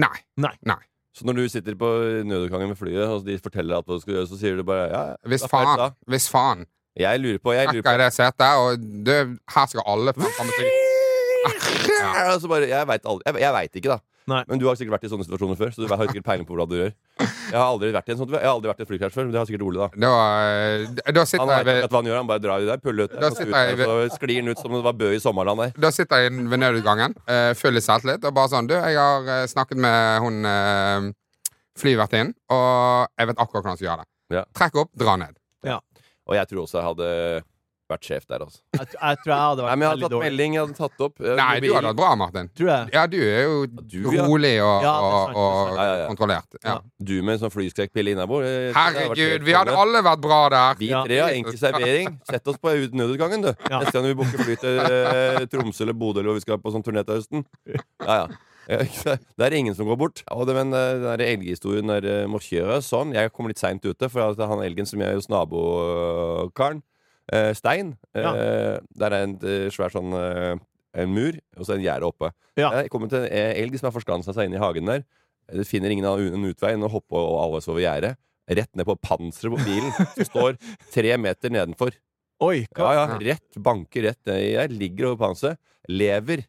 Speaker 4: Nei.
Speaker 5: Så når du sitter på nødutgangen med flyet, og de forteller at hva du skal gjøre, så sier du bare ja, ja,
Speaker 4: Hvis
Speaker 5: da får jeg
Speaker 4: faen.
Speaker 5: ta.
Speaker 4: Hvis faen.
Speaker 5: Jeg lurer på, jeg lurer på
Speaker 4: Ekka i det setet, og det, her skal alle fram fram og tilbake. Ja.
Speaker 5: Ja, altså bare, Jeg veit aldri. Jeg, jeg vet ikke, da.
Speaker 2: Nei.
Speaker 5: Men du har sikkert vært i sånne situasjoner før. Så du har sikkert peiling på hvordan du gjør Jeg har aldri vært i en sånn Jeg har aldri vært i et flykrasj før, men det har sikkert Ole, da.
Speaker 4: Da, eh, da
Speaker 5: Han
Speaker 4: sitter
Speaker 5: vet
Speaker 4: jeg ved
Speaker 5: ikke hva han gjør, han bare drar i der, puller ut
Speaker 4: Da
Speaker 5: og så
Speaker 4: sitter
Speaker 5: ut der,
Speaker 4: jeg ved-
Speaker 5: og så sklir han ut som om det var Bø i sommerland der.
Speaker 4: da sitter jeg ved nødutgangen, uh, full i selvtillit, og bare sånn Du, jeg har eh, snakket med hun uh, flyvertinnen, og jeg vet akkurat hvordan jeg skal gjøre det.
Speaker 5: Ja.
Speaker 4: Trekk opp, dra ned.
Speaker 5: Og jeg tror også jeg hadde vært sjef der, altså.
Speaker 2: Jeg, tr- jeg tror jeg hadde
Speaker 5: Nei,
Speaker 2: vært
Speaker 5: men jeg hadde
Speaker 2: veldig
Speaker 5: tatt
Speaker 2: dårlig.
Speaker 5: melding, jeg hadde tatt opp eh,
Speaker 4: Nei, du
Speaker 5: mobilen.
Speaker 4: hadde vært bra, Martin.
Speaker 2: Tror jeg.
Speaker 4: Ja, du er jo
Speaker 5: Du, ja.
Speaker 4: rolig
Speaker 2: Ja,
Speaker 4: og,
Speaker 2: det er sant, det er sant.
Speaker 4: og, og
Speaker 5: Ja, ja, ja.
Speaker 4: kontrollert. Ja.
Speaker 2: Ja.
Speaker 5: Du med en sånn flyskrekkpille innabord. eh, det hadde vært
Speaker 4: Herregud,
Speaker 5: helt
Speaker 4: vi hadde
Speaker 5: konge.
Speaker 4: alle vært bra der!
Speaker 5: Vi
Speaker 2: Ja.
Speaker 5: tre har enkel servering. Sett oss på ut- nødutgangen, du.
Speaker 2: Ja.
Speaker 5: Neste gang vi booker fly til eh, Tromsø eller Bodø eller hvor vi skal på sånn turné til høsten. Ja, ja. Ja, ikke sant? Det er ingen som går bort. Og det, men eh, den der elghistorien der eh, må kjøre sånn. Jeg kom litt seint ute, for at han elgen som jeg er hos nabokaren, eh, Stein eh, Der er en eh, svær sånn eh, en mur, og så er en gjerde oppe.
Speaker 2: Ja.
Speaker 5: Jeg kommer til en eh, elg som har forskansa seg inne i hagen der. Det finner ingen annen utvei enn å hoppe og alle over gjerdet. Rett ned på panseret på bilen, som står tre meter nedenfor.
Speaker 2: Oi, hva?
Speaker 5: Ja, ja, rett, banker rett ned i der. Ligger over panseret. Lever.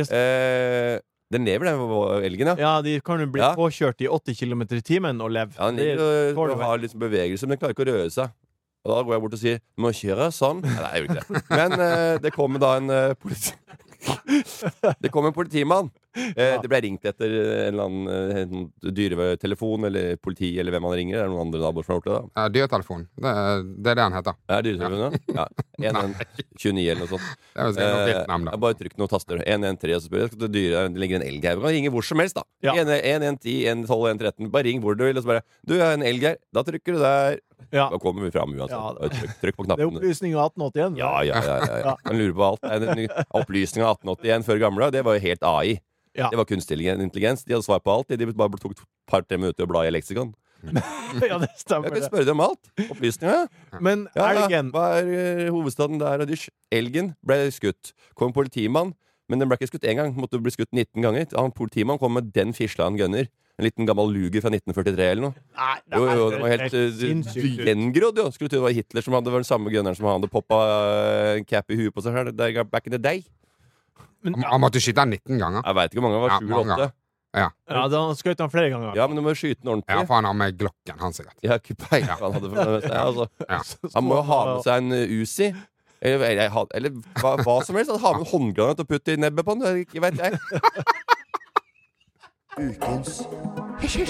Speaker 2: Yes.
Speaker 5: Eh, den lever, den v- elgen, ja.
Speaker 2: Ja, de kan jo bli
Speaker 5: Ja.
Speaker 2: påkjørt i 80 km i timen og leve.
Speaker 5: ja den
Speaker 2: Det-
Speaker 5: ligger og,
Speaker 2: tåler
Speaker 5: og
Speaker 2: vel.
Speaker 5: har liksom bevegelse, men den klarer ikke å røre seg. Og da går jeg bort og sier 'Du må kjøre sånn'. Nei, jeg gjør ikke det. Men eh, det kommer da en eh, politi... Det kom en politimann Eh, Det ble ringt etter en eller annen eh, dyretelefon eller politi eller hvem man ringer. Det er noen andre naboer som har gjort det. da.
Speaker 4: Ja, Dyretelefon. Det, er- det er det han heter.
Speaker 5: Er det dyretelefon, ja? ja. 1129 eller noe sånt.
Speaker 4: Det er jo sikkert noe
Speaker 5: Eh,
Speaker 4: fint navn, da.
Speaker 5: jeg bare trykk noen taster. 113, og så spør jeg skal du dyre, det ligger en elg her. Du kan ringe hvor som helst, da.
Speaker 2: Ja.
Speaker 5: 1, 110, 112, 113. Bare ring hvor du vil, og så bare Du, jeg har en elg her. Da trykker du der.
Speaker 2: Ja.
Speaker 5: Da kommer vi fram uansett.
Speaker 2: Ja, da.
Speaker 5: Bare Trykk, trykk på
Speaker 2: Det er
Speaker 5: knappene.
Speaker 2: opplysning av 1881.
Speaker 5: Ja, ja, ja. ja, ja. Man lurer på alt. En- en- Opplysning av 1881 før gamle, det var jo helt AI.
Speaker 2: Ja.
Speaker 5: Det var kunstig intelligens. De hadde svar på alt. De bare tok et par-tre minutter å bla i leksikon.
Speaker 2: ja, det
Speaker 5: Jeg
Speaker 2: stemmer.
Speaker 5: kunne
Speaker 2: det.
Speaker 5: spørre dem om alt. Opplysninga.
Speaker 2: Men
Speaker 5: Ja, ja.
Speaker 2: elgen
Speaker 5: Hva er eh, hovedstaden der? og Dysj. Elgen ble skutt. Kom en politimann, men den ble ikke skutt én gang. Måtte bli skutt 19 ganger. Han politimannen kom med den fisla han gunner. En liten gammel luger fra 1943 eller noe.
Speaker 2: Nei, det
Speaker 5: Jo, jo,
Speaker 2: er
Speaker 5: den var helt eh,
Speaker 2: sinnssykt ut.
Speaker 5: gjengrodd, jo. Skulle tro det var Hitler som hadde vært den samme gunneren som han hadde poppa eh, en cap i huet på seg sjøl. Back in the day.
Speaker 4: Han, han måtte skyte den 19 ganger.
Speaker 5: Jeg veit ikke hvor mange. Det var
Speaker 4: Ja,
Speaker 5: sju eller
Speaker 4: mange.
Speaker 5: åtte.
Speaker 2: Ja, da skjøt han flere ganger.
Speaker 5: Ja, men du må jo skyte den
Speaker 4: Ja,
Speaker 5: ordentlig.
Speaker 4: for han har med Glocken, han sikkert.
Speaker 5: Jeg har ikke peiling på hva han hadde for noe. Ja, altså.
Speaker 4: Ja.
Speaker 5: Han må jo ha med seg en eh, Uzi. Eller, eller, ha- eller hva, hva som helst. Han har med en håndgranat og putter i nebbet på den. Ikke vet jeg.
Speaker 3: Ukens
Speaker 2: Ikke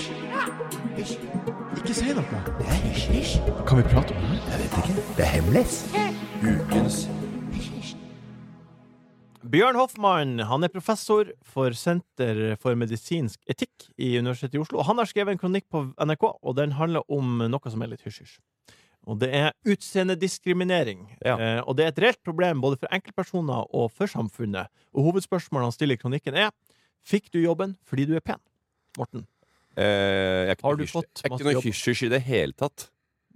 Speaker 2: si noe.
Speaker 3: Kan vi prate om det? Jeg vet ikke. Det er hemmelig. Ukens
Speaker 2: Bjørn Hoffmann han er professor for Senter for medisinsk etikk i Universitetet i Oslo. Og Han har skrevet en kronikk på NRK, og den handler om noe som er litt hysj-hysj. Og det er utseendediskriminering.
Speaker 5: Ja.
Speaker 2: Eh, og det er et reelt problem både for enkeltpersoner og for samfunnet. Og hovedspørsmålet han stiller i kronikken, er Fikk du jobben fordi du er pen? Morten.
Speaker 5: Eh, jeg er ikke
Speaker 2: Har
Speaker 5: noe
Speaker 2: du
Speaker 5: hysj-
Speaker 2: fått
Speaker 5: Jeg er
Speaker 2: masse
Speaker 5: ikke noe
Speaker 2: jobb?
Speaker 5: hysj-hysj i det hele tatt.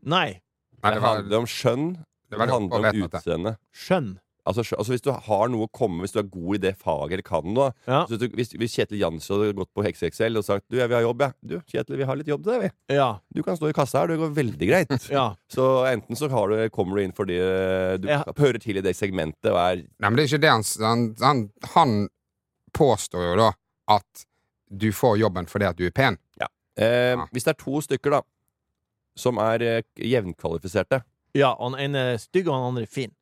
Speaker 2: Nei.
Speaker 4: Nei,
Speaker 5: Det
Speaker 4: det var,
Speaker 5: handler om skjønn.
Speaker 4: det
Speaker 5: Det,
Speaker 4: var litt
Speaker 5: handler om
Speaker 4: påvettet.
Speaker 5: utseende.
Speaker 2: Skjønn.
Speaker 5: Altså, skjø- altså Hvis du har noe å komme Hvis du er god i det faget eller kan noe
Speaker 2: Ja.
Speaker 5: så hvis, du, hvis, hvis Kjetil Jansson hadde gått på Hekse-XL og sagt Du, jeg vil ha jobb, jeg. Du, Kjetil, vi har litt jobb til deg, vi.
Speaker 2: Ja.
Speaker 5: Du kan stå i kassa her. Det går veldig greit.
Speaker 2: ja.
Speaker 5: Så enten så har du, kommer du inn fordi eh, du
Speaker 2: Ja.
Speaker 5: hører til i det segmentet og er
Speaker 4: Nei, men det er ikke det han s- Han, han, han påstår jo da at du får jobben fordi at du er pen.
Speaker 5: Eh,
Speaker 4: Ja.
Speaker 5: Hvis det er to stykker da som er eh, jevnkvalifiserte
Speaker 2: ja. Han ene er stygg, og han andre er fin.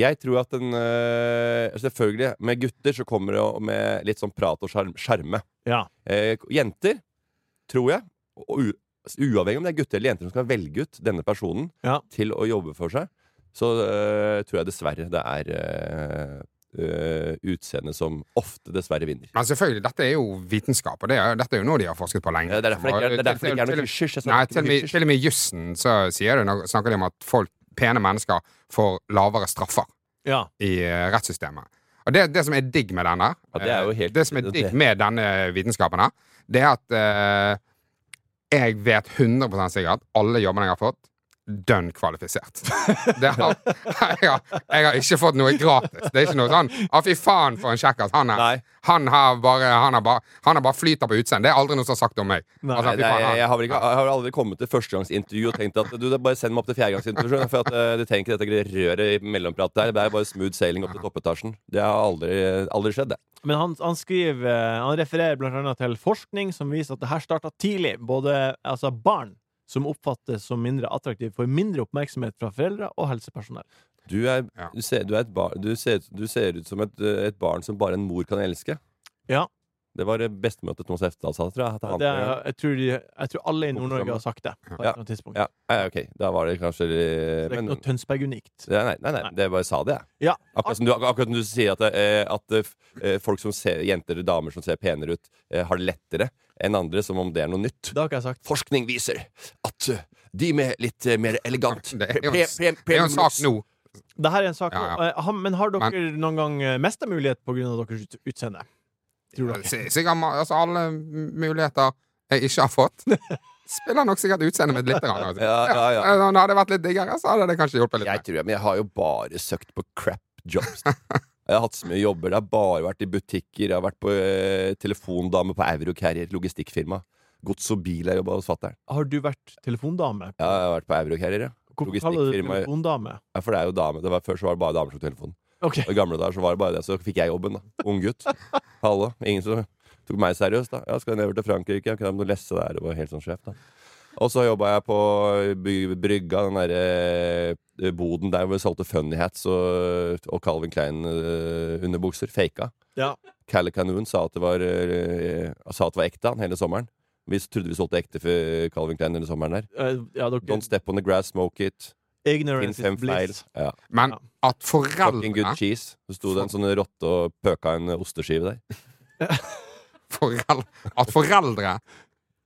Speaker 5: Jeg tror at den eh, Selvfølgelig, med gutter så kommer det jo med litt sånn prat og skjerm, skjerme.
Speaker 2: Ja.
Speaker 5: Eh, jenter, tror jeg, og u uavhengig om det er gutter eller jenter som skal velge ut denne personen
Speaker 2: Ja.
Speaker 5: til å jobbe for seg, så eh, tror jeg dessverre det er eh, eh, utseendet som ofte dessverre vinner.
Speaker 4: Men selvfølgelig, dette er jo vitenskap, og det er, dette er jo noe de har forsket på lenge.
Speaker 5: Ja, det er derfor det ikke er- det er derfor det ikke er noe
Speaker 4: Til- til-
Speaker 5: hysj-hysj. Jeg snakker
Speaker 4: Nei,
Speaker 5: ikke
Speaker 4: til og
Speaker 5: om
Speaker 4: med,
Speaker 5: hysj-hysj.
Speaker 4: til og med i jussen så sier det noe, snakker de om at folk, pene mennesker får lavere straffer
Speaker 2: Ja.
Speaker 4: i eh, rettssystemet. Og det, det som er digg med denne
Speaker 5: Ja, det er jo
Speaker 4: eh,
Speaker 5: helt-
Speaker 4: det som er
Speaker 5: det-
Speaker 4: digg med denne vitenskapen her, det er at eh, jeg vet 100 sikkert at alle jobbene jeg har fått, dønn kvalifisert. Det har, jeg, har, jeg har ikke fått noe gratis. Det er ikke noe sånn 'Å, fy faen, for en kjekkas han er'.
Speaker 5: Nei.
Speaker 4: Han har bare, han har bare, han har bare flyter på utseendet. Det er aldri noe som har sagt om meg. Altså,
Speaker 5: Nei,
Speaker 4: fy
Speaker 5: nei,
Speaker 4: faen,
Speaker 5: jeg,
Speaker 4: han-
Speaker 5: jeg, har vel ikke, jeg har aldri kommet til førstegangsintervju og tenkt at du, da bare send meg opp til fjerdegangsintervju. skjønner du, For at eh, du trenger ikke dette røret i mellompratet der. Det er bare smooth sailing opp til toppetasjen. Det har aldri, aldri skjedd, det.
Speaker 2: Men han, han skriver eh, Han refererer blant annet til forskning som viser at det her starta tidlig. Både altså barn som oppfattes som mindre attraktive, får mindre oppmerksomhet fra foreldre og helsepersonell.
Speaker 5: Du, er,
Speaker 4: Ja.
Speaker 5: du, ser, du, er et bar, du, ser, du ser ut som et, eh, et barn som bare en mor kan elske.
Speaker 2: Ja.
Speaker 5: Det var eh, bestemor til Thomas Heftal sa, tror jeg. at han-
Speaker 2: Det, er- jeg, tror de, jeg tror alle i Nord-Norge har sagt det. På et
Speaker 5: Ja.
Speaker 2: eller annet tidspunkt.
Speaker 5: ja, ja, ok. Da var det kanskje eh,
Speaker 2: Det er ikke
Speaker 5: men,
Speaker 2: noe Tønsberg-unikt.
Speaker 5: Ja, nei, nei, nei, det bare sa det, jeg.
Speaker 2: Ja.
Speaker 5: Akkurat som du, ak- akkurat som du sier at, eh, at eh, f- eh, folk som ser, jenter og damer som ser penere ut, eh, har det lettere enn andre, som om det er noe nytt.
Speaker 2: Det har ikke jeg sagt.
Speaker 5: Forskning viser at eh, de med litt eh, mer elegant
Speaker 4: Det er jo en-
Speaker 5: pre- pre-
Speaker 4: det er jo en sak
Speaker 5: premiumluks-
Speaker 4: nå.
Speaker 2: Dette er en sak
Speaker 4: Ja, ja.
Speaker 2: nå. Eh, han- Men har dere noen gang eh, mista mulighet pga. deres ut- utseende? Tror dere?
Speaker 4: Si- Sikkert ma- altså, alle muligheter jeg ikke har fått, spiller nok sikkert utseendet mitt litt. grann, Altså.
Speaker 5: Ja, ja, ja.
Speaker 4: Eh, Når det hadde vært litt diggere, så hadde det kanskje hjulpet litt.
Speaker 5: Jeg tror jeg, men jeg har jo bare søkt på crap jobs. Jeg har hatt så mye jobber. Det har bare vært i butikker, jeg har vært på eh, telefondame på Eurocarrier, logistikkfirma. Gods og bil jeg jobba hos fatter'n.
Speaker 2: Har du vært telefondame?
Speaker 5: Ja, jeg har vært på Eurocarrier, ja.
Speaker 2: Hvorfor kaller du det
Speaker 5: Logistikkfirma-
Speaker 2: telefondame?
Speaker 5: ja. For det er jo dame. Det var, før så var det bare damer som tok telefonen.
Speaker 2: Ok.
Speaker 5: Og I gamle dager så var det bare det, så fikk jeg jobben, da. Ung gutt. Hallo. Ingen som tok meg seriøst, da. Ja, skal jeg nedover til Frankrike? Jeg kunne ha noe lesse der og var helt sånn sjef, da. Og så jobba jeg på eh, by- brygga, den derre eh, boden der hvor vi solgte funny hats og, og eh, Calvin Klein-underbukser. Faka.
Speaker 2: Ja.
Speaker 5: Calicanoon sa at det var, eh, sa at det var ekte han hele sommeren. Vi trodde vi solgte ekte for Calvin Klein hele sommeren der.
Speaker 2: Eh, ja, dere,
Speaker 5: Don't step on the grass, smoke it. Finn
Speaker 2: ignorance
Speaker 5: fem
Speaker 2: is
Speaker 5: feil.
Speaker 2: bliss.
Speaker 5: Ja.
Speaker 4: Men
Speaker 2: Ja.
Speaker 4: at
Speaker 5: Fucking good
Speaker 4: foreldrene
Speaker 5: cheese. Så sto det en sånn rotte og pøka en osteskive der.
Speaker 4: forel- At foreldre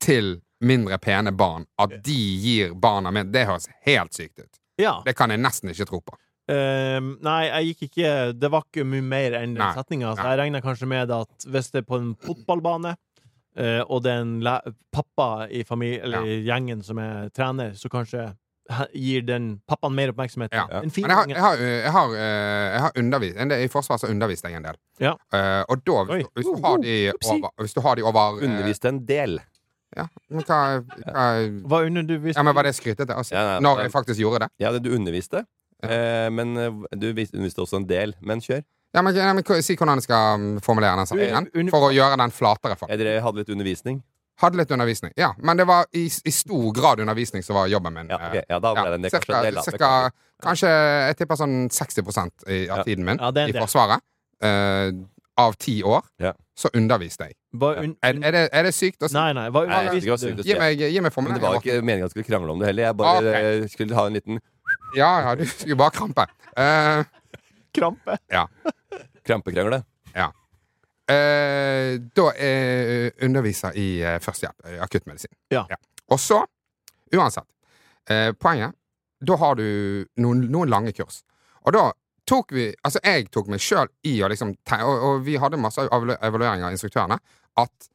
Speaker 4: til mindre pene barn At de gir barna min Det høres helt sykt ut.
Speaker 2: Ja.
Speaker 4: Det kan jeg nesten ikke tro på.
Speaker 2: Eh, nei, jeg gikk ikke Det var ikke mye mer enn den
Speaker 4: Nei.
Speaker 2: setninga. Så
Speaker 4: Nei.
Speaker 2: jeg regner kanskje med at hvis det er på en fotballbane, eh, og det er en læ pappa i familie, eller i gjengen som er trener, så kanskje he- gir den pappaen mer oppmerksomhet.
Speaker 4: Ja.
Speaker 2: En fin
Speaker 4: Men jeg har,
Speaker 2: unge.
Speaker 4: jeg har, jeg har, eh, jeg har undervist en del, I Forsvaret så underviste jeg en del.
Speaker 2: Ja.
Speaker 4: Eh, og da,
Speaker 2: Oi.
Speaker 4: hvis, du- hvis, du har de over, hvis du har de over eh,
Speaker 5: Underviste en del.
Speaker 4: Ja, men hva, hva
Speaker 2: Hva under du hvis
Speaker 4: ja, men Var det skrytete? Altså,
Speaker 5: Ja, nei,
Speaker 4: når
Speaker 5: men-
Speaker 4: jeg faktisk gjorde det?
Speaker 5: Ja, det du underviste.
Speaker 4: Ja.
Speaker 5: Eh, men eh, du vis- underviste også en del. Men kjør.
Speaker 4: Ja, men, ja, men hva- Si hvordan jeg skal mm, formulere den
Speaker 2: Du, under-
Speaker 4: setningen for å gjøre den flatere. For.
Speaker 5: Jeg drev, Eh, hadde litt undervisning.
Speaker 4: Hadde litt undervisning. Ja, men det var i, i stor grad undervisning som var jobben min.
Speaker 5: Ja,
Speaker 4: eh,
Speaker 5: ok. ja da ble det en del. Kanskje
Speaker 4: cirka,
Speaker 5: en del. da.
Speaker 4: cirka, kanskje jeg tipper sånn 60 i, av
Speaker 5: Ja.
Speaker 4: tiden min
Speaker 2: Ja, det er en
Speaker 4: i
Speaker 2: del.
Speaker 4: Forsvaret. eh, av ti år
Speaker 5: Ja.
Speaker 4: så underviste jeg.
Speaker 2: hva un
Speaker 4: Er, er, det, er det sykt å si?
Speaker 2: Nei, nei. Hva
Speaker 5: Nei, jeg
Speaker 2: underviste
Speaker 5: synes det
Speaker 2: du?
Speaker 5: var sykt å
Speaker 4: Gi
Speaker 5: se.
Speaker 4: meg, gi meg
Speaker 5: Men det
Speaker 4: formuleringen.
Speaker 5: var ikke meningen at vi skulle krangle om det heller. Jeg bare
Speaker 4: Ok.
Speaker 5: eh, skulle ha en liten
Speaker 4: Ja, ja, du skulle bare krampe. Eh,
Speaker 2: Krampe.
Speaker 4: ja.
Speaker 5: krampekrangel.
Speaker 4: Ja. Eh, da eh, underviser jeg i eh, førstehjelp, eh, akuttmedisin.
Speaker 2: Ja.
Speaker 4: Og så, uansett, eh, poenget Da har du noen, noen lange kurs. Og da tok vi Altså, jeg tok meg sjøl i å liksom te- og, og vi hadde masse evalu- evalueringer av instruktørene. At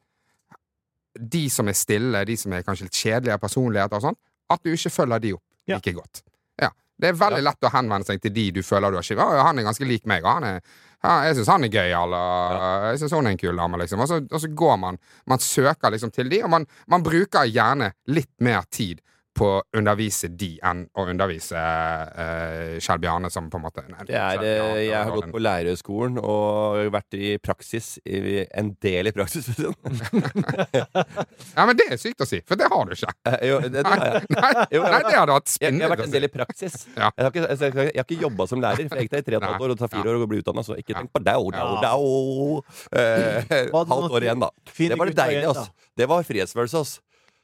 Speaker 4: de som er stille, de som er kanskje litt kjedelige personligheter og sånn, at du ikke følger de opp
Speaker 2: Ja.
Speaker 4: like godt. Ja. Det er veldig lett å henvende seg til de du føler du har skiva. Han er ganske lik meg, og han er ja, jeg syns han er gøy, eller jeg syns hun er en kul dame, liksom. Og så, og så går man Man søker liksom til de, og man, man bruker gjerne litt mer tid på å undervise de enn å undervise eh, Kjell Bjarne, som på en måte nei,
Speaker 5: Det er,
Speaker 4: Kjell
Speaker 5: eh,
Speaker 4: Bjarne
Speaker 5: jeg har
Speaker 4: var
Speaker 5: gått
Speaker 4: en-
Speaker 5: på lærerskolen og vært i praksis i, En del i praksis. for å si det sånn.
Speaker 4: Ja, men det er sykt å si, for det har du ikke.
Speaker 5: Eh, Jo, det, det har jeg.
Speaker 4: Nei,
Speaker 5: Jo, jeg-
Speaker 4: nei det hadde vært
Speaker 5: Jeg, jeg har
Speaker 4: spinnvilt
Speaker 5: vært
Speaker 4: å
Speaker 5: en
Speaker 4: si.
Speaker 5: del i praksis.
Speaker 4: Ja.
Speaker 5: Jeg har ikke, altså, jeg har ikke- jeg har ikke jobba som lærer. For jeg gikk der i tre og et halvt
Speaker 4: Nei.
Speaker 5: år og det tar fire
Speaker 4: Ja.
Speaker 5: år å bli utdanna. Så ikke
Speaker 4: Ja.
Speaker 5: tenk på dau, dau,
Speaker 2: Ja.
Speaker 5: dau. Eh,
Speaker 2: Hva hadde du
Speaker 5: Halvt år
Speaker 2: noe
Speaker 5: igjen, da.
Speaker 2: fine
Speaker 5: Det var litt
Speaker 2: gutter og
Speaker 5: deilig, altså.
Speaker 2: jenter?
Speaker 5: ass. Det var frihetsfølelse, ass.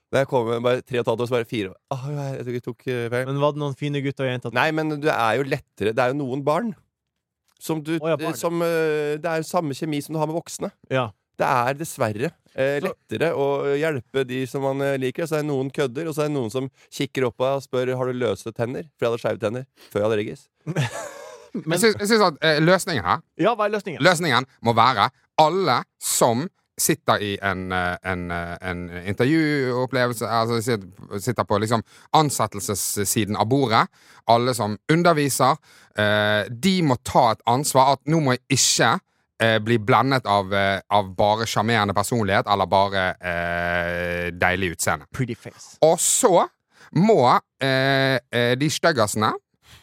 Speaker 5: Da jeg kom bare tre og et halvt år, så bare fire år. Åh, jeg, jeg tok eh, feil.
Speaker 2: Men var det noen fine gutter og jenter?
Speaker 5: Nei, men du er jo lettere Det er jo noen barn som du
Speaker 2: Å, ja, barn.
Speaker 5: Som, eh, Det er jo samme kjemi som du har med voksne.
Speaker 2: Ja.
Speaker 5: Det er dessverre eh,
Speaker 2: Så-
Speaker 5: lettere å hjelpe de som man eh, liker. Så er det noen kødder, og så er det noen som kikker opp og spør Har du løse tenner. For jeg hadde skeive tenner før jeg hadde reggis.
Speaker 4: Jeg syns- jeg syns at eh, løsningen her
Speaker 2: Ja, hva er løsningen?
Speaker 4: Løsningen må være alle som sitter i en, eh, en, eh, en intervjuopplevelse altså sit- Sitter på liksom ansettelsessiden av bordet. Alle som underviser. eh, De må ta et ansvar. At nå må jeg ikke eh, bli blendet av, eh, av bare sjarmerende personlighet eller bare eh, deilig utseende.
Speaker 2: Pretty face.
Speaker 4: Og så må eh, eh, de styggasene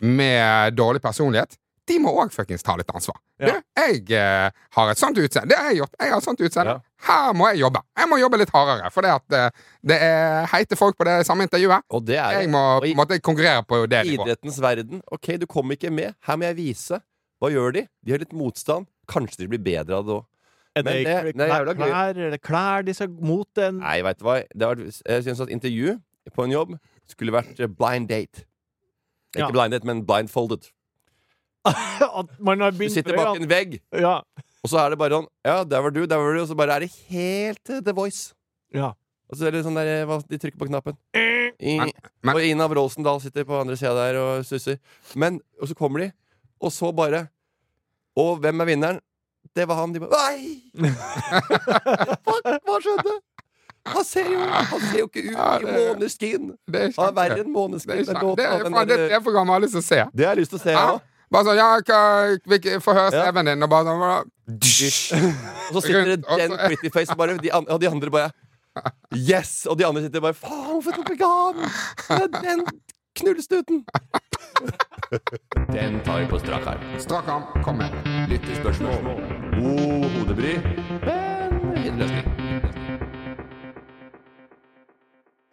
Speaker 4: med dårlig personlighet de må òg fuckings ta litt ansvar.
Speaker 2: Ja.
Speaker 4: Du, jeg eh, har et sånt utseende. Det har jeg gjort. Jeg har et sånt utseende.
Speaker 5: Ja.
Speaker 4: Her må jeg jobbe. Jeg må jobbe litt hardere, for det, at, eh, det er heite folk på det samme intervjuet.
Speaker 5: Og det er
Speaker 4: Jeg må
Speaker 5: og
Speaker 4: på
Speaker 5: i
Speaker 4: en måte konkurrere på det nivået.
Speaker 5: idrettens verden. OK, du kom ikke med. Her må jeg vise. Hva gjør de? De har litt motstand. Kanskje de blir bedre av det òg.
Speaker 2: Er
Speaker 5: Men
Speaker 2: det,
Speaker 5: det- det er
Speaker 2: klær,
Speaker 5: jævla gøy.
Speaker 2: er det klær de skal mot den?
Speaker 5: Nei, vet du hva. Det har, vært- jeg syns at intervju på en jobb skulle vært eh, blind date.
Speaker 2: Ja.
Speaker 5: Ikke blind date, men blindfolded.
Speaker 2: At man har
Speaker 5: Du
Speaker 2: begynt
Speaker 5: sitter bak en vegg,
Speaker 2: Ja.
Speaker 5: og så er det bare sånn Ja, der var du, der var du. Og så bare er det helt eh, The Voice.
Speaker 2: Ja.
Speaker 5: Og så er det sånn der eh, hva, De trykker på knappen. I,
Speaker 4: Men- men-
Speaker 5: og Ina Wroldsen-Dahl sitter på andre sida der og susser. Men, og så kommer de, og så bare Og hvem er vinneren? Det var han. De bare Nei! Fuck, hva skjedde? Han ser jo, han ser jo ikke ut
Speaker 4: Ja,
Speaker 5: i
Speaker 4: det-
Speaker 5: måneskin.
Speaker 4: Det er
Speaker 5: Han er verre
Speaker 4: ikke
Speaker 5: enn
Speaker 4: det er,
Speaker 5: måneskin.
Speaker 4: ikke,
Speaker 5: den
Speaker 4: det,
Speaker 5: låten,
Speaker 4: er,
Speaker 5: den
Speaker 4: faen, det,
Speaker 5: der-
Speaker 4: det er for gammel, jeg har lyst til å se.
Speaker 5: det har jeg lyst til å se,
Speaker 4: Ja.
Speaker 5: jeg òg.
Speaker 4: Bare sånn, ja, hva- hvilke- Få høre
Speaker 5: Ja.
Speaker 4: steven din, og bare sånn bare-
Speaker 5: Og så sitter det
Speaker 4: Rundt, og
Speaker 5: den
Speaker 4: så-
Speaker 5: pretty face og bare, de an, Og de andre bare Yes! Og de andre sitter bare Faen, hvorfor tok jeg ikke han? Det er Den knullestuten! Den tar vi på strak arm.
Speaker 4: Strak arm, kom med.
Speaker 5: Lyttespørsmål. God hodebry, men fin løsning.